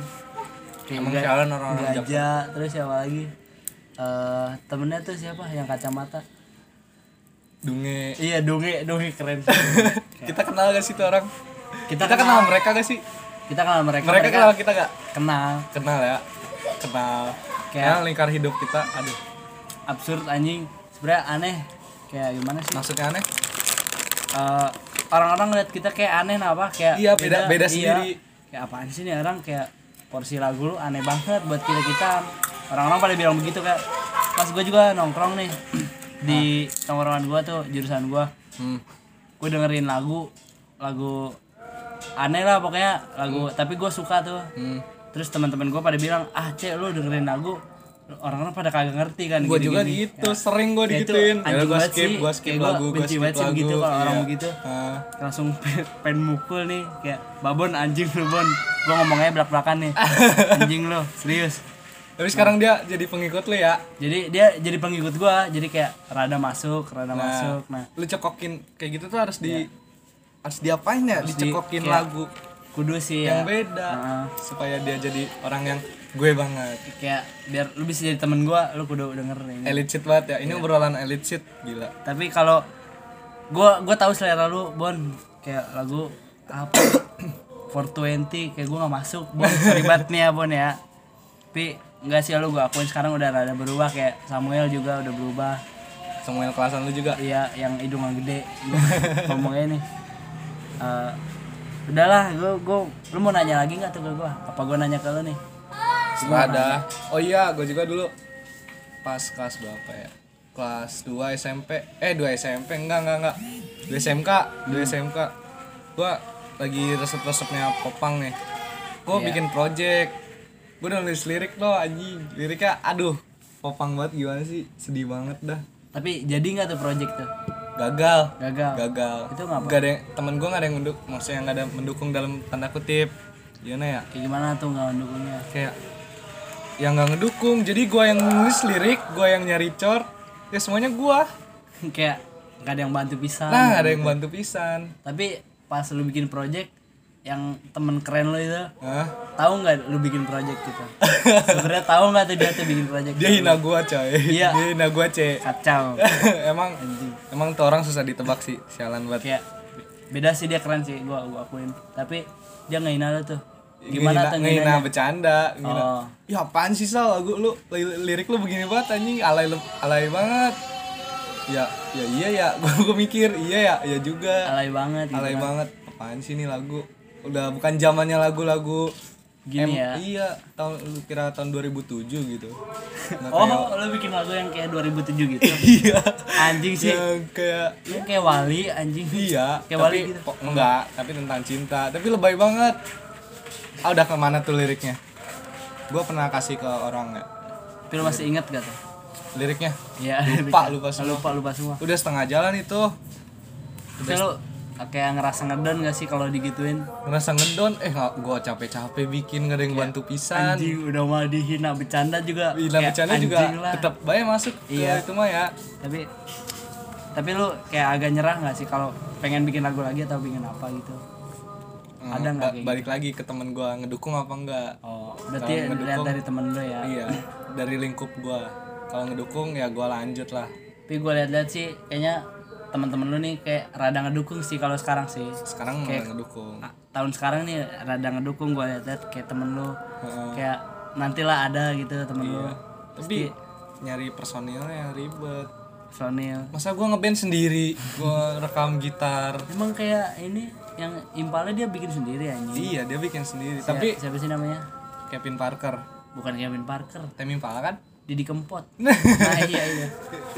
Speaker 2: Kayak
Speaker 1: Emang
Speaker 2: ga-
Speaker 1: jalan orang-orang
Speaker 2: gajah terus siapa lagi Eh, temennya tuh siapa yang kacamata
Speaker 1: Dunge [LAUGHS]
Speaker 2: iya donge donge keren
Speaker 1: kita kenal gak sih tuh orang
Speaker 2: kita
Speaker 1: kita, kenal mereka gak sih
Speaker 2: kita kenal mereka
Speaker 1: mereka, kenal kita gak
Speaker 2: kenal
Speaker 1: kenal ya kenal
Speaker 2: Kayak-
Speaker 1: kayak lingkar hidup kita aduh
Speaker 2: absurd anjing sebenarnya aneh kayak gimana sih
Speaker 1: maksudnya aneh
Speaker 2: Eh, orang-orang ngeliat kita kayak aneh nah, apa kayak
Speaker 1: Iya, beda- beda sendiri.
Speaker 2: kayak apaan sih nih orang kayak porsi lagu lu aneh banget buat kita kita orang-orang pada bilang begitu kayak pas gue juga nongkrong nih di tongkrongan gue tuh jurusan gue
Speaker 1: hmm.
Speaker 2: gue dengerin lagu lagu aneh lah pokoknya lagu tapi gue suka tuh
Speaker 1: hmm.
Speaker 2: terus teman-teman gue pada bilang ah cek lu dengerin lagu orang-orang pada kagak ngerti kan
Speaker 1: gue
Speaker 2: gini-gini."
Speaker 1: juga gitu sering gue
Speaker 2: Ya, itu
Speaker 1: digituin
Speaker 2: anjing
Speaker 1: gue
Speaker 2: banget
Speaker 1: skip
Speaker 2: sih.
Speaker 1: gue skip
Speaker 2: Kayak gua
Speaker 1: lagu gue
Speaker 2: benci
Speaker 1: skip
Speaker 2: banget sih
Speaker 1: lagu
Speaker 2: begitu kalau orang
Speaker 1: iya.
Speaker 2: begitu. Hmm.
Speaker 1: Ah.
Speaker 2: langsung [LAUGHS] pe- pengen mukul nih kayak babon anjing lu bon gua ngomongnya belak belakan
Speaker 1: [LAUGHS]
Speaker 2: nih anjing lu serius
Speaker 1: tapi sekarang dia jadi pengikut lu ya
Speaker 2: jadi dia jadi pengikut gua jadi kayak rada masuk rada
Speaker 1: Nah,
Speaker 2: masuk nah
Speaker 1: lu cekokin kayak gitu tuh harus di harus diapain ya
Speaker 2: Ya. Harus di-
Speaker 1: dicekokin
Speaker 2: kayak-
Speaker 1: lagu
Speaker 2: kudu sih
Speaker 1: yang
Speaker 2: ya
Speaker 1: beda
Speaker 2: Heeh.
Speaker 1: supaya dia jadi orang yang gue banget
Speaker 2: kayak biar lu bisa jadi temen gua lu kudu denger ini
Speaker 1: elit shit banget ya ini
Speaker 2: Iya.
Speaker 1: obrolan elit shit gila
Speaker 2: tapi kalau gua gua tahu selera lu bon kayak lagu apa [COUGHS] 420 kayak gua nggak masuk bon sorry banget nih ya bon ya tapi nggak sih ya, lu gua akuin sekarang udah rada berubah kayak Samuel juga udah berubah
Speaker 1: Samuel kelasan lu juga
Speaker 2: iya yang hidungnya gede Gua ngomongnya nih Eh, udahlah gua gua lu mau nanya lagi nggak tuh ke gua apa gua nanya ke lu nih
Speaker 1: setelah ada oh iya gue juga dulu pas kelas berapa ya kelas 2 SMP eh 2 SMP enggak enggak enggak 2 SMK 2 SMK gue lagi resep-resepnya popang nih gue bikin project gue udah nulis lirik loh anjing liriknya aduh popang banget gimana sih sedih banget dah
Speaker 2: tapi jadi nggak tuh project tuh
Speaker 1: gagal
Speaker 2: gagal
Speaker 1: gagal
Speaker 2: Itu ngapa?
Speaker 1: Gak ada yang- temen gue gak ada yang menduk maksudnya gak ada yang mendukung dalam tanda kutip gimana ya
Speaker 2: kayak gimana tuh nggak mendukungnya [LAUGHS]
Speaker 1: kayak yang nggak ngedukung jadi gue yang nulis lirik gue yang nyari chord ya semuanya gue
Speaker 2: kayak nggak ada yang bantu pisan
Speaker 1: nah gak ada yang bantu pisan
Speaker 2: tapi pas lu bikin project yang temen keren lu itu
Speaker 1: Hah?
Speaker 2: tahu nggak lu bikin project
Speaker 1: [LAUGHS]
Speaker 2: gitu sebenarnya tahu nggak tuh dia tuh bikin project
Speaker 1: dia hina gue coy
Speaker 2: Iya.
Speaker 1: dia hina gue c
Speaker 2: [LAUGHS] kacau
Speaker 1: emang emang tuh orang susah ditebak sih sialan banget
Speaker 2: kayak beda sih dia keren sih gua gua akuin tapi dia ngehina lu tuh
Speaker 1: Ngehina-
Speaker 2: gimana tuh
Speaker 1: ngehina
Speaker 2: ngehinanya
Speaker 1: bercanda ngehina.
Speaker 2: Oh.
Speaker 1: ya apaan sih sal lagu lu li- lirik lu begini banget anjing alay lu- alay banget ya ya iya ya [LAUGHS] gue mikir iya ya ya juga
Speaker 2: alay banget gitu
Speaker 1: alay
Speaker 2: kan.
Speaker 1: banget apaan sih nih lagu udah bukan zamannya lagu-lagu
Speaker 2: Gini ya.
Speaker 1: iya tahun lu kira tahun 2007
Speaker 2: [LAUGHS]
Speaker 1: gitu Nggak
Speaker 2: oh
Speaker 1: kayak-
Speaker 2: lu bikin lagu yang kayak 2007 gitu
Speaker 1: iya
Speaker 2: anjing
Speaker 1: [LAUGHS]
Speaker 2: sih
Speaker 1: yang kayak
Speaker 2: lu kayak wali anjing
Speaker 1: iya
Speaker 2: Kayak
Speaker 1: tapi
Speaker 2: balik gitu.
Speaker 1: po- enggak tapi tentang cinta tapi lebay banget ah udah kemana tuh liriknya gua pernah kasih ke orang ya
Speaker 2: tapi lu masih inget gak tuh
Speaker 1: liriknya
Speaker 2: ya
Speaker 1: Lupa, lupa semua.
Speaker 2: lupa lupa semua
Speaker 1: udah setengah jalan itu
Speaker 2: Tapi lu kayak ngerasa ngedon gak sih kalau digituin?
Speaker 1: ngerasa ngedon eh nggak gua capek-capek bikin gak ada yang bantu pisan
Speaker 2: Iya. Anjing udah mau dihina bercanda juga.
Speaker 1: Bilang
Speaker 2: Kayak
Speaker 1: bercanda juga
Speaker 2: anjing lah.
Speaker 1: tetap baik masuk ke
Speaker 2: Iya.
Speaker 1: itu mah ya
Speaker 2: Tapi tapi lu kayak agak nyerah gak sih kalau pengen bikin lagu lagi atau bikin apa gitu?
Speaker 1: Hmm,
Speaker 2: Ada nggak
Speaker 1: ba-
Speaker 2: kayak gitu?
Speaker 1: balik lagi ke temen gua ngedukung apa enggak
Speaker 2: Oh, berarti
Speaker 1: Kalau
Speaker 2: lihat
Speaker 1: ngedukung.
Speaker 2: dari temen lu ya.
Speaker 1: iya dari lingkup gua kalau ngedukung ya gua lanjut lah
Speaker 2: Tapi gue lihat-lihat sih kayaknya teman-teman lu nih kayak rada ngedukung sih kalau sekarang sih
Speaker 1: sekarang mulai
Speaker 2: Kayak-
Speaker 1: ngedukung
Speaker 2: Ah, tahun sekarang nih rada ngedukung gue liat kayak temen lu kayak nantilah ada gitu temen
Speaker 1: Iya.
Speaker 2: lu
Speaker 1: tapi nyari personilnya ribet
Speaker 2: Sonil
Speaker 1: masa gua ngeband sendiri
Speaker 2: [LAUGHS]
Speaker 1: gua rekam gitar
Speaker 2: emang kayak ini yang impalnya dia bikin sendiri ya, anjing
Speaker 1: iya dia bikin sendiri tapi
Speaker 2: siapa sih namanya
Speaker 1: Kevin Parker
Speaker 2: bukan Kevin Parker
Speaker 1: Temi Impala kan
Speaker 2: Didi
Speaker 1: [LAUGHS]
Speaker 2: Kempot nah iya iya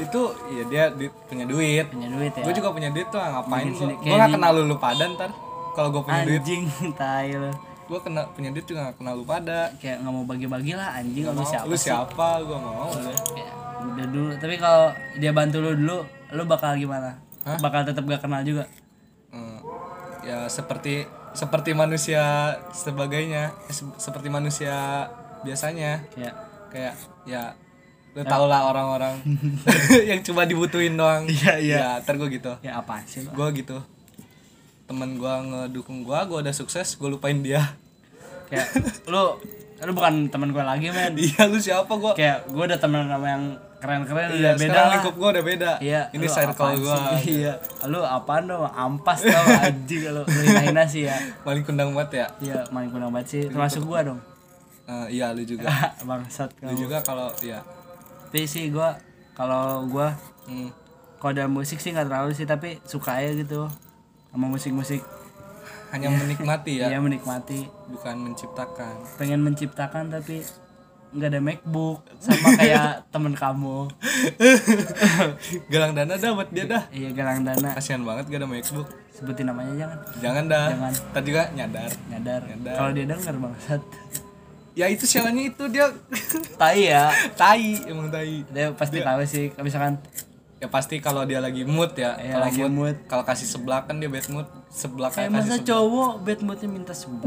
Speaker 1: itu ya dia di- punya duit
Speaker 2: punya duit ya
Speaker 1: gue juga punya duit tuh ah, ngapain
Speaker 2: Bikin
Speaker 1: gue
Speaker 2: sendiri.
Speaker 1: gue
Speaker 2: Kayak
Speaker 1: gak
Speaker 2: di-
Speaker 1: kenal lu pada ntar kalau gue punya duit
Speaker 2: anjing tai lu
Speaker 1: gue kena punya duit juga gak kenal lu pada
Speaker 2: kayak nggak mau bagi-bagi lah anjing lu siapa
Speaker 1: lu siapa gue mau udah.
Speaker 2: Kayak, udah dulu tapi kalau dia bantu lu dulu lu bakal gimana bakal tetap gak kenal juga
Speaker 1: Hmm, ya seperti seperti manusia sebagainya eh, se- seperti manusia biasanya
Speaker 2: kayak
Speaker 1: kayak ya lu tau lah orang-orang
Speaker 2: [LAUGHS]
Speaker 1: [LAUGHS] yang cuma dibutuhin doang iya iya ya, ntar gue gitu
Speaker 2: ya apa sih lu?
Speaker 1: gue gitu temen gue ngedukung gue gue udah sukses gue lupain dia [LAUGHS]
Speaker 2: kayak lu lu bukan teman gue lagi men
Speaker 1: iya lu siapa gue
Speaker 2: kayak gue udah temen sama yang keren-keren
Speaker 1: Iya,
Speaker 2: udah beda
Speaker 1: sekarang
Speaker 2: lah
Speaker 1: lingkup gue udah beda.
Speaker 2: Iya,
Speaker 1: Ini
Speaker 2: lu
Speaker 1: circle gitu.
Speaker 2: apaan
Speaker 1: gue.
Speaker 2: sih? Iya, lu apaan dong? Ampas tau anjing lu. Lu hina-hina sih ya.
Speaker 1: [LAUGHS] Paling kundang banget ya.
Speaker 2: Iya, main kunang banget sih. Termasuk gua dong. [LAUGHS]
Speaker 1: Eh, iya, lu juga.
Speaker 2: Bangsat
Speaker 1: lu
Speaker 2: kamu.
Speaker 1: juga kalau ya.
Speaker 2: Tapi sih gua kalau gua
Speaker 1: Hmm.
Speaker 2: kalau dalam musik sih nggak terlalu sih, tapi suka aja gitu sama musik-musik.
Speaker 1: Hanya menikmati ya,
Speaker 2: Iya, menikmati.
Speaker 1: bukan [LAUGHS] menciptakan.
Speaker 2: Pengen menciptakan tapi nggak ada MacBook sama kayak temen kamu.
Speaker 1: Galang dana dah buat dia dah.
Speaker 2: Iya, galang dana.
Speaker 1: Kasihan banget gak ada MacBook.
Speaker 2: Sebutin namanya jangan.
Speaker 1: Jangan dah.
Speaker 2: Jangan.
Speaker 1: Tadi juga nyadar.
Speaker 2: Nyadar.
Speaker 1: Nyadar.
Speaker 2: Kalau dia denger bangsat.
Speaker 1: Ya itu sialannya itu dia
Speaker 2: Tai ya.
Speaker 1: [LAUGHS] tai, emang tai.
Speaker 2: Dia pasti tahu sih, misalkan
Speaker 1: Ya pasti kalau dia lagi mood ya.
Speaker 2: Iya,
Speaker 1: kalau
Speaker 2: lagi mood.
Speaker 1: Kalau kasih seblak kan dia bad mood. Seblak kayak
Speaker 2: Kayak masa
Speaker 1: kasih seblak.
Speaker 2: cowok bad moodnya minta seblak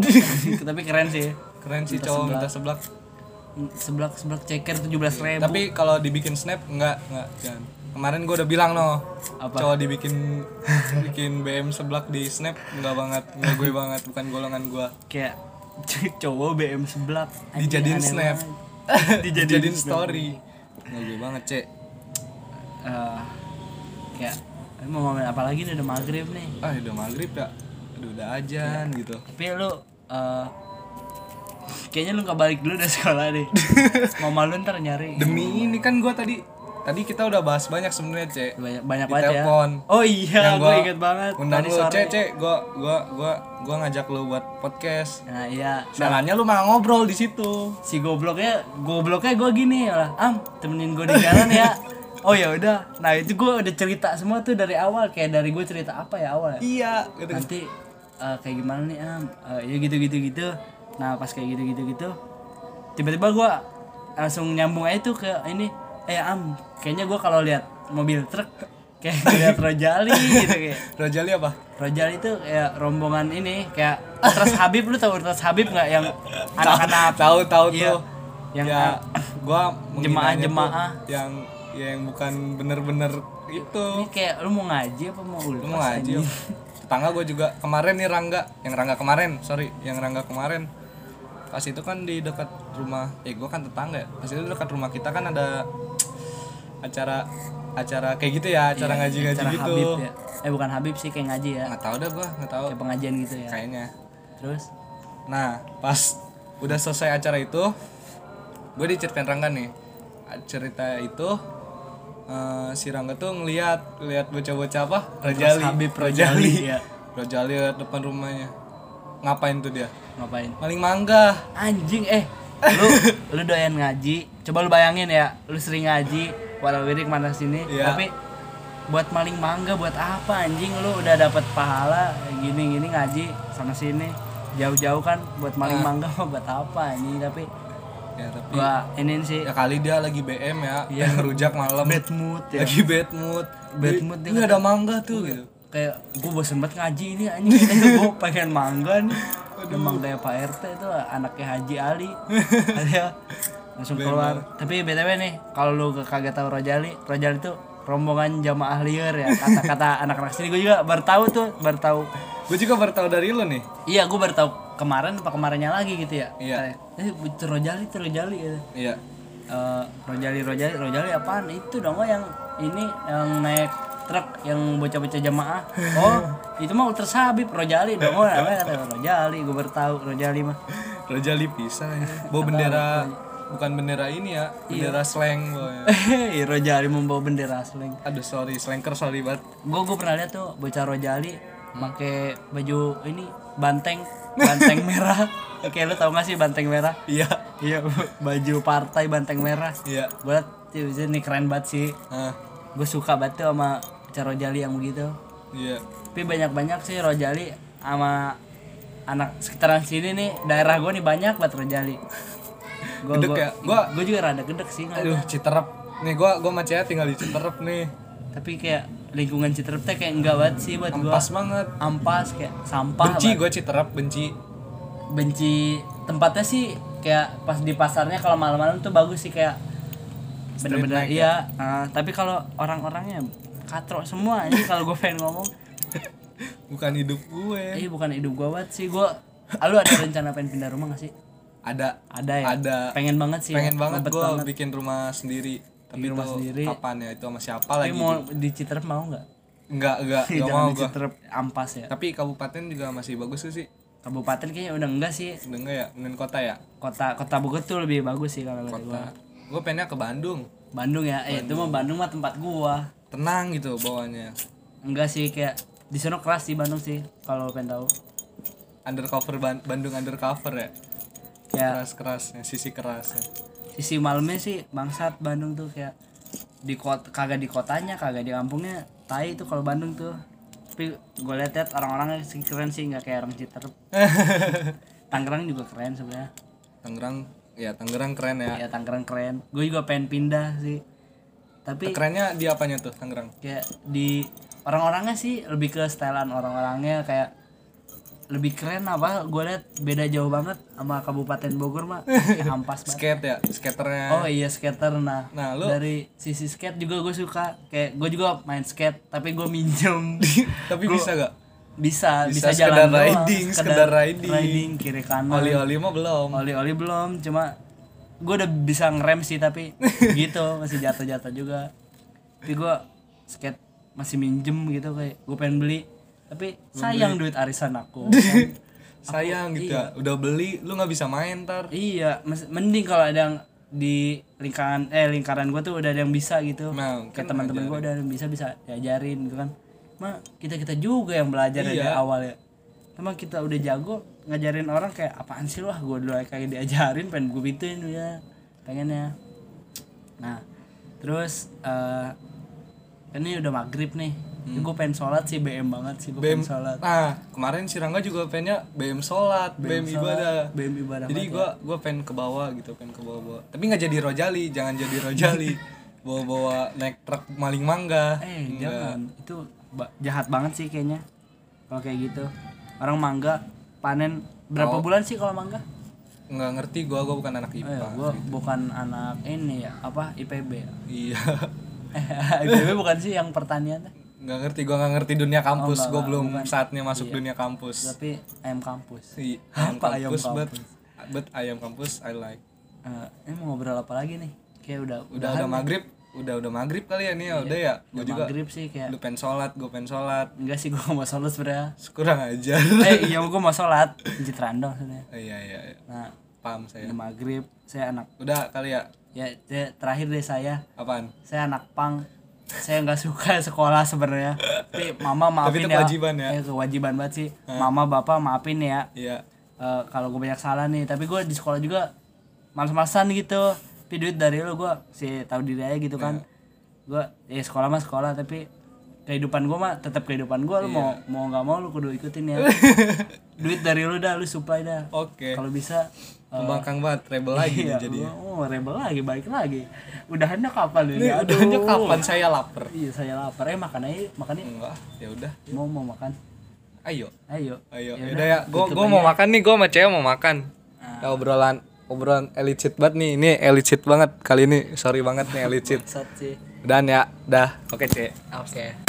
Speaker 2: Tapi keren sih
Speaker 1: Keren sih
Speaker 2: minta
Speaker 1: cowok
Speaker 2: seblak.
Speaker 1: minta seblak.
Speaker 2: Seblak seblak ceker 17 ribu
Speaker 1: Iya, Tapi kalau dibikin snap enggak, enggak jangan. Kemarin gue udah bilang noh,
Speaker 2: Apa?
Speaker 1: cowok [LAUGHS] dibikin bikin BM seblak di snap enggak banget, enggak gue banget, bukan golongan gue. [LAUGHS]
Speaker 2: Kayak c- cowok BM seblak Anjing,
Speaker 1: Dijadiin
Speaker 2: aneh
Speaker 1: snap,
Speaker 2: banget.
Speaker 1: dijadiin,
Speaker 2: [LAUGHS] Dijadiin
Speaker 1: story, enggak gue banget cek.
Speaker 2: Eh, Kayak eh, mau ngomongin apa lagi nih udah maghrib nih
Speaker 1: Ah udah maghrib ya, aduh udah ajan
Speaker 2: Iya.
Speaker 1: gitu.
Speaker 2: Tapi lu eh, Kayaknya lu gak balik dulu dari sekolah
Speaker 1: [LAUGHS]
Speaker 2: deh Mama lu ntar nyari
Speaker 1: Demi ini kan gue tadi, tadi kita udah bahas banyak sebenarnya cek.
Speaker 2: Banyak, banyak
Speaker 1: Di
Speaker 2: banget ya
Speaker 1: telepon.
Speaker 2: Oh iya
Speaker 1: Yang
Speaker 2: gue
Speaker 1: gua
Speaker 2: inget banget
Speaker 1: Undang
Speaker 2: Tadi
Speaker 1: lu
Speaker 2: sore.
Speaker 1: cek cek, gue gue gue gue ngajak lu buat podcast.
Speaker 2: Nah iya
Speaker 1: Salahnya lu malah ngobrol di situ.
Speaker 2: si gobloknya gobloknya gue gini ya lah am temenin gue di jalan
Speaker 1: [LAUGHS]
Speaker 2: ya oh ya udah nah itu gue udah cerita semua tuh dari awal kayak dari gue cerita apa ya awal ya
Speaker 1: Iya, gitu.
Speaker 2: nanti eh, kayak gimana nih am Eh, ya gitu gitu gitu nah pas kayak gitu gitu gitu tiba-tiba gue langsung nyambung aja tuh ke ini eh am kayaknya gue kalau lihat mobil truk kayak [LAUGHS] lihat Rojali gitu kayak
Speaker 1: Rojali apa?
Speaker 2: Rojali itu kayak rombongan ini kayak Ultras Habib lu tau Ultras Habib nggak yang
Speaker 1: Ah,
Speaker 2: anak-anak
Speaker 1: tahu tahu
Speaker 2: Iya.
Speaker 1: tuh
Speaker 2: Yang ah,
Speaker 1: ya gua menghinanya tuh
Speaker 2: Jemaah-jemaah.
Speaker 1: yang ya yang bukan bener-bener itu
Speaker 2: Ini kayak lu mau ngaji apa mau ultras?
Speaker 1: lu mau ngaji
Speaker 2: anjing?
Speaker 1: tetangga gua juga kemarin nih Rangga yang Rangga kemarin sorry yang Rangga kemarin pas itu kan di dekat rumah eh gua kan tetangga ya pas itu dekat rumah kita kan ada acara acara kayak gitu ya acara ngaji-ngaji
Speaker 2: Iya, Acara
Speaker 1: gitu
Speaker 2: Habib ya. Eh bukan Habib sih kayak ngaji ya.
Speaker 1: nggak tahu dah gua nggak tahu
Speaker 2: Kayak pengajian gitu ya.
Speaker 1: kayaknya
Speaker 2: Terus
Speaker 1: Nah, pas udah selesai acara itu, gue diceritain Rangga nih. Cerita itu eh, si Rangga tuh ngeliat ngeliat bocah-bocah apa? Rojali.
Speaker 2: Habib Rojali, ya.
Speaker 1: Rojali lewat depan rumahnya. Ngapain tuh dia?
Speaker 2: ngapain?
Speaker 1: Maling mangga.
Speaker 2: Anjing eh [LAUGHS] lu lu doyan ngaji. Coba lu bayangin ya, lu sering ngaji, warawirik mana sini,
Speaker 1: Iya.
Speaker 2: tapi buat maling mangga buat apa anjing lu udah dapat pahala gini gini ngaji sama sini jauh-jauh kan buat maling mangga mah buat apa anjing tapi
Speaker 1: Ya tapi
Speaker 2: gua ini sih
Speaker 1: ya kali dia lagi BM ya,
Speaker 2: Iya.
Speaker 1: pengen ngerujak malam.
Speaker 2: bad mood ya
Speaker 1: Lagi bad mood.
Speaker 2: Bad
Speaker 1: Ini-
Speaker 2: mood dia
Speaker 1: Ini ada mangga tuh gitu.
Speaker 2: kayak gue bosen banget ngaji ini anjing gue pengen mangga nih Aduh. mangga ya, Pak RT itu anaknya Haji Ali Akhirnya langsung keluar tapi btw nih kalau lu kagak tahu Rojali Rojali itu rombongan jamaah liar ya kata-kata anak-anak sini gue juga baru tahu tuh baru tahu
Speaker 1: Gue juga baru tahu dari lu nih.
Speaker 2: iya gue baru tahu kemarin apa kemarinnya lagi gitu ya
Speaker 1: Iya.
Speaker 2: eh itu Rojali itu Rojali gitu.
Speaker 1: Iya.
Speaker 2: Eh, Rojali Rojali Rojali apaan itu dong oh yang ini yang naik truk yang bocah-bocah jamaah oh itu mah ultra sabib rojali dong oh namanya kata rojali gue bertahu rojali mah [LAUGHS]
Speaker 1: Rojali pisah
Speaker 2: Iya.
Speaker 1: ya. Bawa bendera bukan bendera ini ya, bendera slang boy.
Speaker 2: Hei, Iya, rojali membawa bendera asling
Speaker 1: Aduh sorry, slangker sorry banget.
Speaker 2: gue gue pernah lihat tuh bocah rojali pakai baju ini banteng banteng merah oke lu tau gak sih banteng merah
Speaker 1: Iya,
Speaker 2: iya baju partai banteng merah
Speaker 1: iya.
Speaker 2: gue liat ini keren banget sih
Speaker 1: Ah,
Speaker 2: gue suka banget tuh sama cara rojali yang begitu
Speaker 1: iya.
Speaker 2: tapi banyak-banyak sih rojali sama anak sekitaran sini nih daerah gue nih banyak banget
Speaker 1: [LAUGHS]
Speaker 2: rojali gue
Speaker 1: Gedek ya? Gua-
Speaker 2: gue juga rada gedek sih nggak-
Speaker 1: Aduh, Citerep. Nih gua gua sama Cea tinggal di Citerep nih.
Speaker 2: tapi kayak lingkungan Citerep teh kayak enggak banget sih buat gue
Speaker 1: Ampas banget.
Speaker 2: ampas kayak sampah
Speaker 1: Benci
Speaker 2: banget.
Speaker 1: gua Citerep, benci. [LAUGHS]
Speaker 2: benci tempatnya sih kayak pas di pasarnya kalau malam-malam tuh bagus sih kayak
Speaker 1: ya?
Speaker 2: bener-bener iya ah, tapi kalau orang-orangnya katrok semua ini kalau gue
Speaker 1: [LAUGHS]
Speaker 2: pengen ngomong
Speaker 1: Bukan hidup gue.
Speaker 2: ini bukan hidup gue banget sih gue lu ada rencana pengen pindah rumah gak sih
Speaker 1: Ada
Speaker 2: ada ya
Speaker 1: ada
Speaker 2: pengen banget sih
Speaker 1: pengen banget
Speaker 2: Ngumpet
Speaker 1: gua
Speaker 2: banget.
Speaker 1: bikin rumah sendiri. Tapi
Speaker 2: rumah
Speaker 1: itu
Speaker 2: sendiri.
Speaker 1: kapan ya? Itu sama siapa
Speaker 2: tapi
Speaker 1: lagi?
Speaker 2: mau di Citerep mau nggak
Speaker 1: Enggak,
Speaker 2: [LAUGHS]
Speaker 1: enggak, enggak
Speaker 2: jangan
Speaker 1: mau
Speaker 2: di
Speaker 1: gua.
Speaker 2: Citerep ampas ya
Speaker 1: Tapi kabupaten juga masih bagus sih.
Speaker 2: kabupaten kayaknya udah enggak sih
Speaker 1: Udah enggak ya? Mending kota ya?
Speaker 2: kota kota Bogor tuh lebih bagus sih kalau kata gue
Speaker 1: Kota. Gua pengennya ke Bandung.
Speaker 2: Bandung ya eh itu mah Bandung mah tempat gua
Speaker 1: Tenang gitu bawaannya.
Speaker 2: enggak sih kayak di sana keras sih Bandung sih kalau pengen tahu
Speaker 1: Undercover Ban- Bandung undercover ya.
Speaker 2: kayak
Speaker 1: Keras-kerasnya, sisi kerasnya. [LAUGHS]
Speaker 2: sisi malamnya sih bangsat Bandung tuh kayak di kota kagak di kotanya kagak di kampungnya tai itu kalau Bandung tuh tapi gue liat liat orang-orangnya sih keren sih nggak kayak orang Citerep Tangerang juga keren sebenarnya
Speaker 1: Tangerang ya Tangerang keren ya.
Speaker 2: ya Tangerang keren gue juga pengen pindah sih tapi
Speaker 1: Kerennya di apanya tuh Tangerang?
Speaker 2: kayak di orang-orangnya sih lebih ke setelan orang-orangnya kayak lebih keren apa gue liat beda jauh banget sama Kabupaten Bogor mah kayak ampas
Speaker 1: [LAUGHS]
Speaker 2: banget
Speaker 1: Skate ya, skaternya.
Speaker 2: oh iya skater nah,
Speaker 1: Nah, lu-
Speaker 2: dari sisi skate juga gue suka kayak gue juga main skate tapi gue
Speaker 1: [LAUGHS]
Speaker 2: minjem
Speaker 1: Tapi
Speaker 2: Gua-
Speaker 1: bisa gak?
Speaker 2: bisa bisa,
Speaker 1: Bisa sekedar
Speaker 2: jalan doang,
Speaker 1: riding, sekedar riding.
Speaker 2: kiri kanan
Speaker 1: Oli-oli mah belum.
Speaker 2: oli-oli belum cuma gue udah bisa ngerem sih tapi gitu masih jatuh-jatuh juga tapi gue skate masih minjem gitu kayak gue pengen beli tapi sayang duit arisan aku
Speaker 1: Sayang gitu ya. Udah beli, lu nggak bisa main ntar.
Speaker 2: iya mes- mending kalau ada yang di lingkaran eh lingkaran gue tuh udah ada yang bisa gitu
Speaker 1: Nah,
Speaker 2: kayak teman-teman gue udah ada yang bisa bisa diajarin gitu kan mah kita kita juga yang belajar dari awal ya emang kita udah jago ngajarin orang kayak apaan sih lu ah gue dulu aja kayak diajarin pengen gue gituin ya pengennya nah terus eh ini udah maghrib nih gue pengen sholat sih BM banget sih gue pengen sholat
Speaker 1: Nah, kemarin si Rangga juga pengennya BM sholat, BM, ibadah.
Speaker 2: BM ibadah
Speaker 1: Jadi gua gua pengen ke bawah gitu, pengen ke bawah-bawah. Tapi nggak jadi rojali, jangan jadi [LAUGHS] rojali. Bawa-bawa naik truk maling mangga.
Speaker 2: Eh jangan, itu ba- jahat banget sih kayaknya kalau kayak gitu. Orang mangga panen berapa bulan sih kalau mangga?
Speaker 1: Nggak ngerti gua, gua bukan anak
Speaker 2: Eh,
Speaker 1: IPA.
Speaker 2: gua bukan anak ini ya, apa [LAUGHS] IPB. ya?
Speaker 1: Iya. [LAUGHS]
Speaker 2: IPB bukan sih yang pertanian, teh.
Speaker 1: nggak ngerti gua Oh, nggak Iya. ngerti dunia kampus gua belum saatnya masuk dunia kampus
Speaker 2: tapi ayam kampus.
Speaker 1: Iya, ayam kampus, but but ayam kampus I like
Speaker 2: Eh, ini mau ngobrol apa lagi nih? Kayak udah
Speaker 1: udah udah maghrib udah udah maghrib kali ya nih ya, udah ya gua juga
Speaker 2: maghrib sih kayak
Speaker 1: lu pengen sholat gua pengen sholat
Speaker 2: enggak sih gua mau sholat
Speaker 1: [LAUGHS]
Speaker 2: sebenarnya.
Speaker 1: kurang ajar [LAUGHS]
Speaker 2: eh iya gua mau sholat, jit random sebenarnya.
Speaker 1: Eh, iya iya iya.
Speaker 2: Nah,
Speaker 1: paham saya
Speaker 2: udah maghrib saya anak
Speaker 1: udah kali ya
Speaker 2: ya te- terakhir deh saya
Speaker 1: apaan
Speaker 2: saya anak pang saya nggak suka [LAUGHS] sekolah sebenarnya tapi mama maafin
Speaker 1: itu
Speaker 2: ya
Speaker 1: kewajiban ya? Eh.
Speaker 2: Eh, kewajiban banget sih mama bapak maafin ya
Speaker 1: iya
Speaker 2: Eh, kalau gue banyak salah nih tapi gue di sekolah juga males-malesan gitu tapi duit dari lo gue sih tahu diri aja gitu kan gue ya sekolah mah sekolah tapi kehidupan gue mah tetap kehidupan gue lu mau mau nggak mau lu kudu ikutin [LAUGHS] ya duit dari lu dah lu supply dah
Speaker 1: oke
Speaker 2: kalau bisa
Speaker 1: membangkang banget rebel lagi nih
Speaker 2: iya,
Speaker 1: jadi
Speaker 2: gua- oh rebel lagi balik lagi udahannya kapan ini
Speaker 1: Ini
Speaker 2: aduh
Speaker 1: udahnya kapan saya lapar
Speaker 2: Iya saya lapar. Eh makan aja, makan yuk.
Speaker 1: enggak ya udah
Speaker 2: Mau mau makan.
Speaker 1: ayo
Speaker 2: Ayo.
Speaker 1: Ayo,
Speaker 2: Yaudah,
Speaker 1: yaudah ya. Gua gua mau makan nih, gua sama cewek mau makan. Ya, obrolan obrolan elicit banget nih. Ini elicit banget kali ini. Sorry banget nih elicit.
Speaker 2: Sat sih.
Speaker 1: Dan ya, dah. Oke, cewek.
Speaker 2: Oke.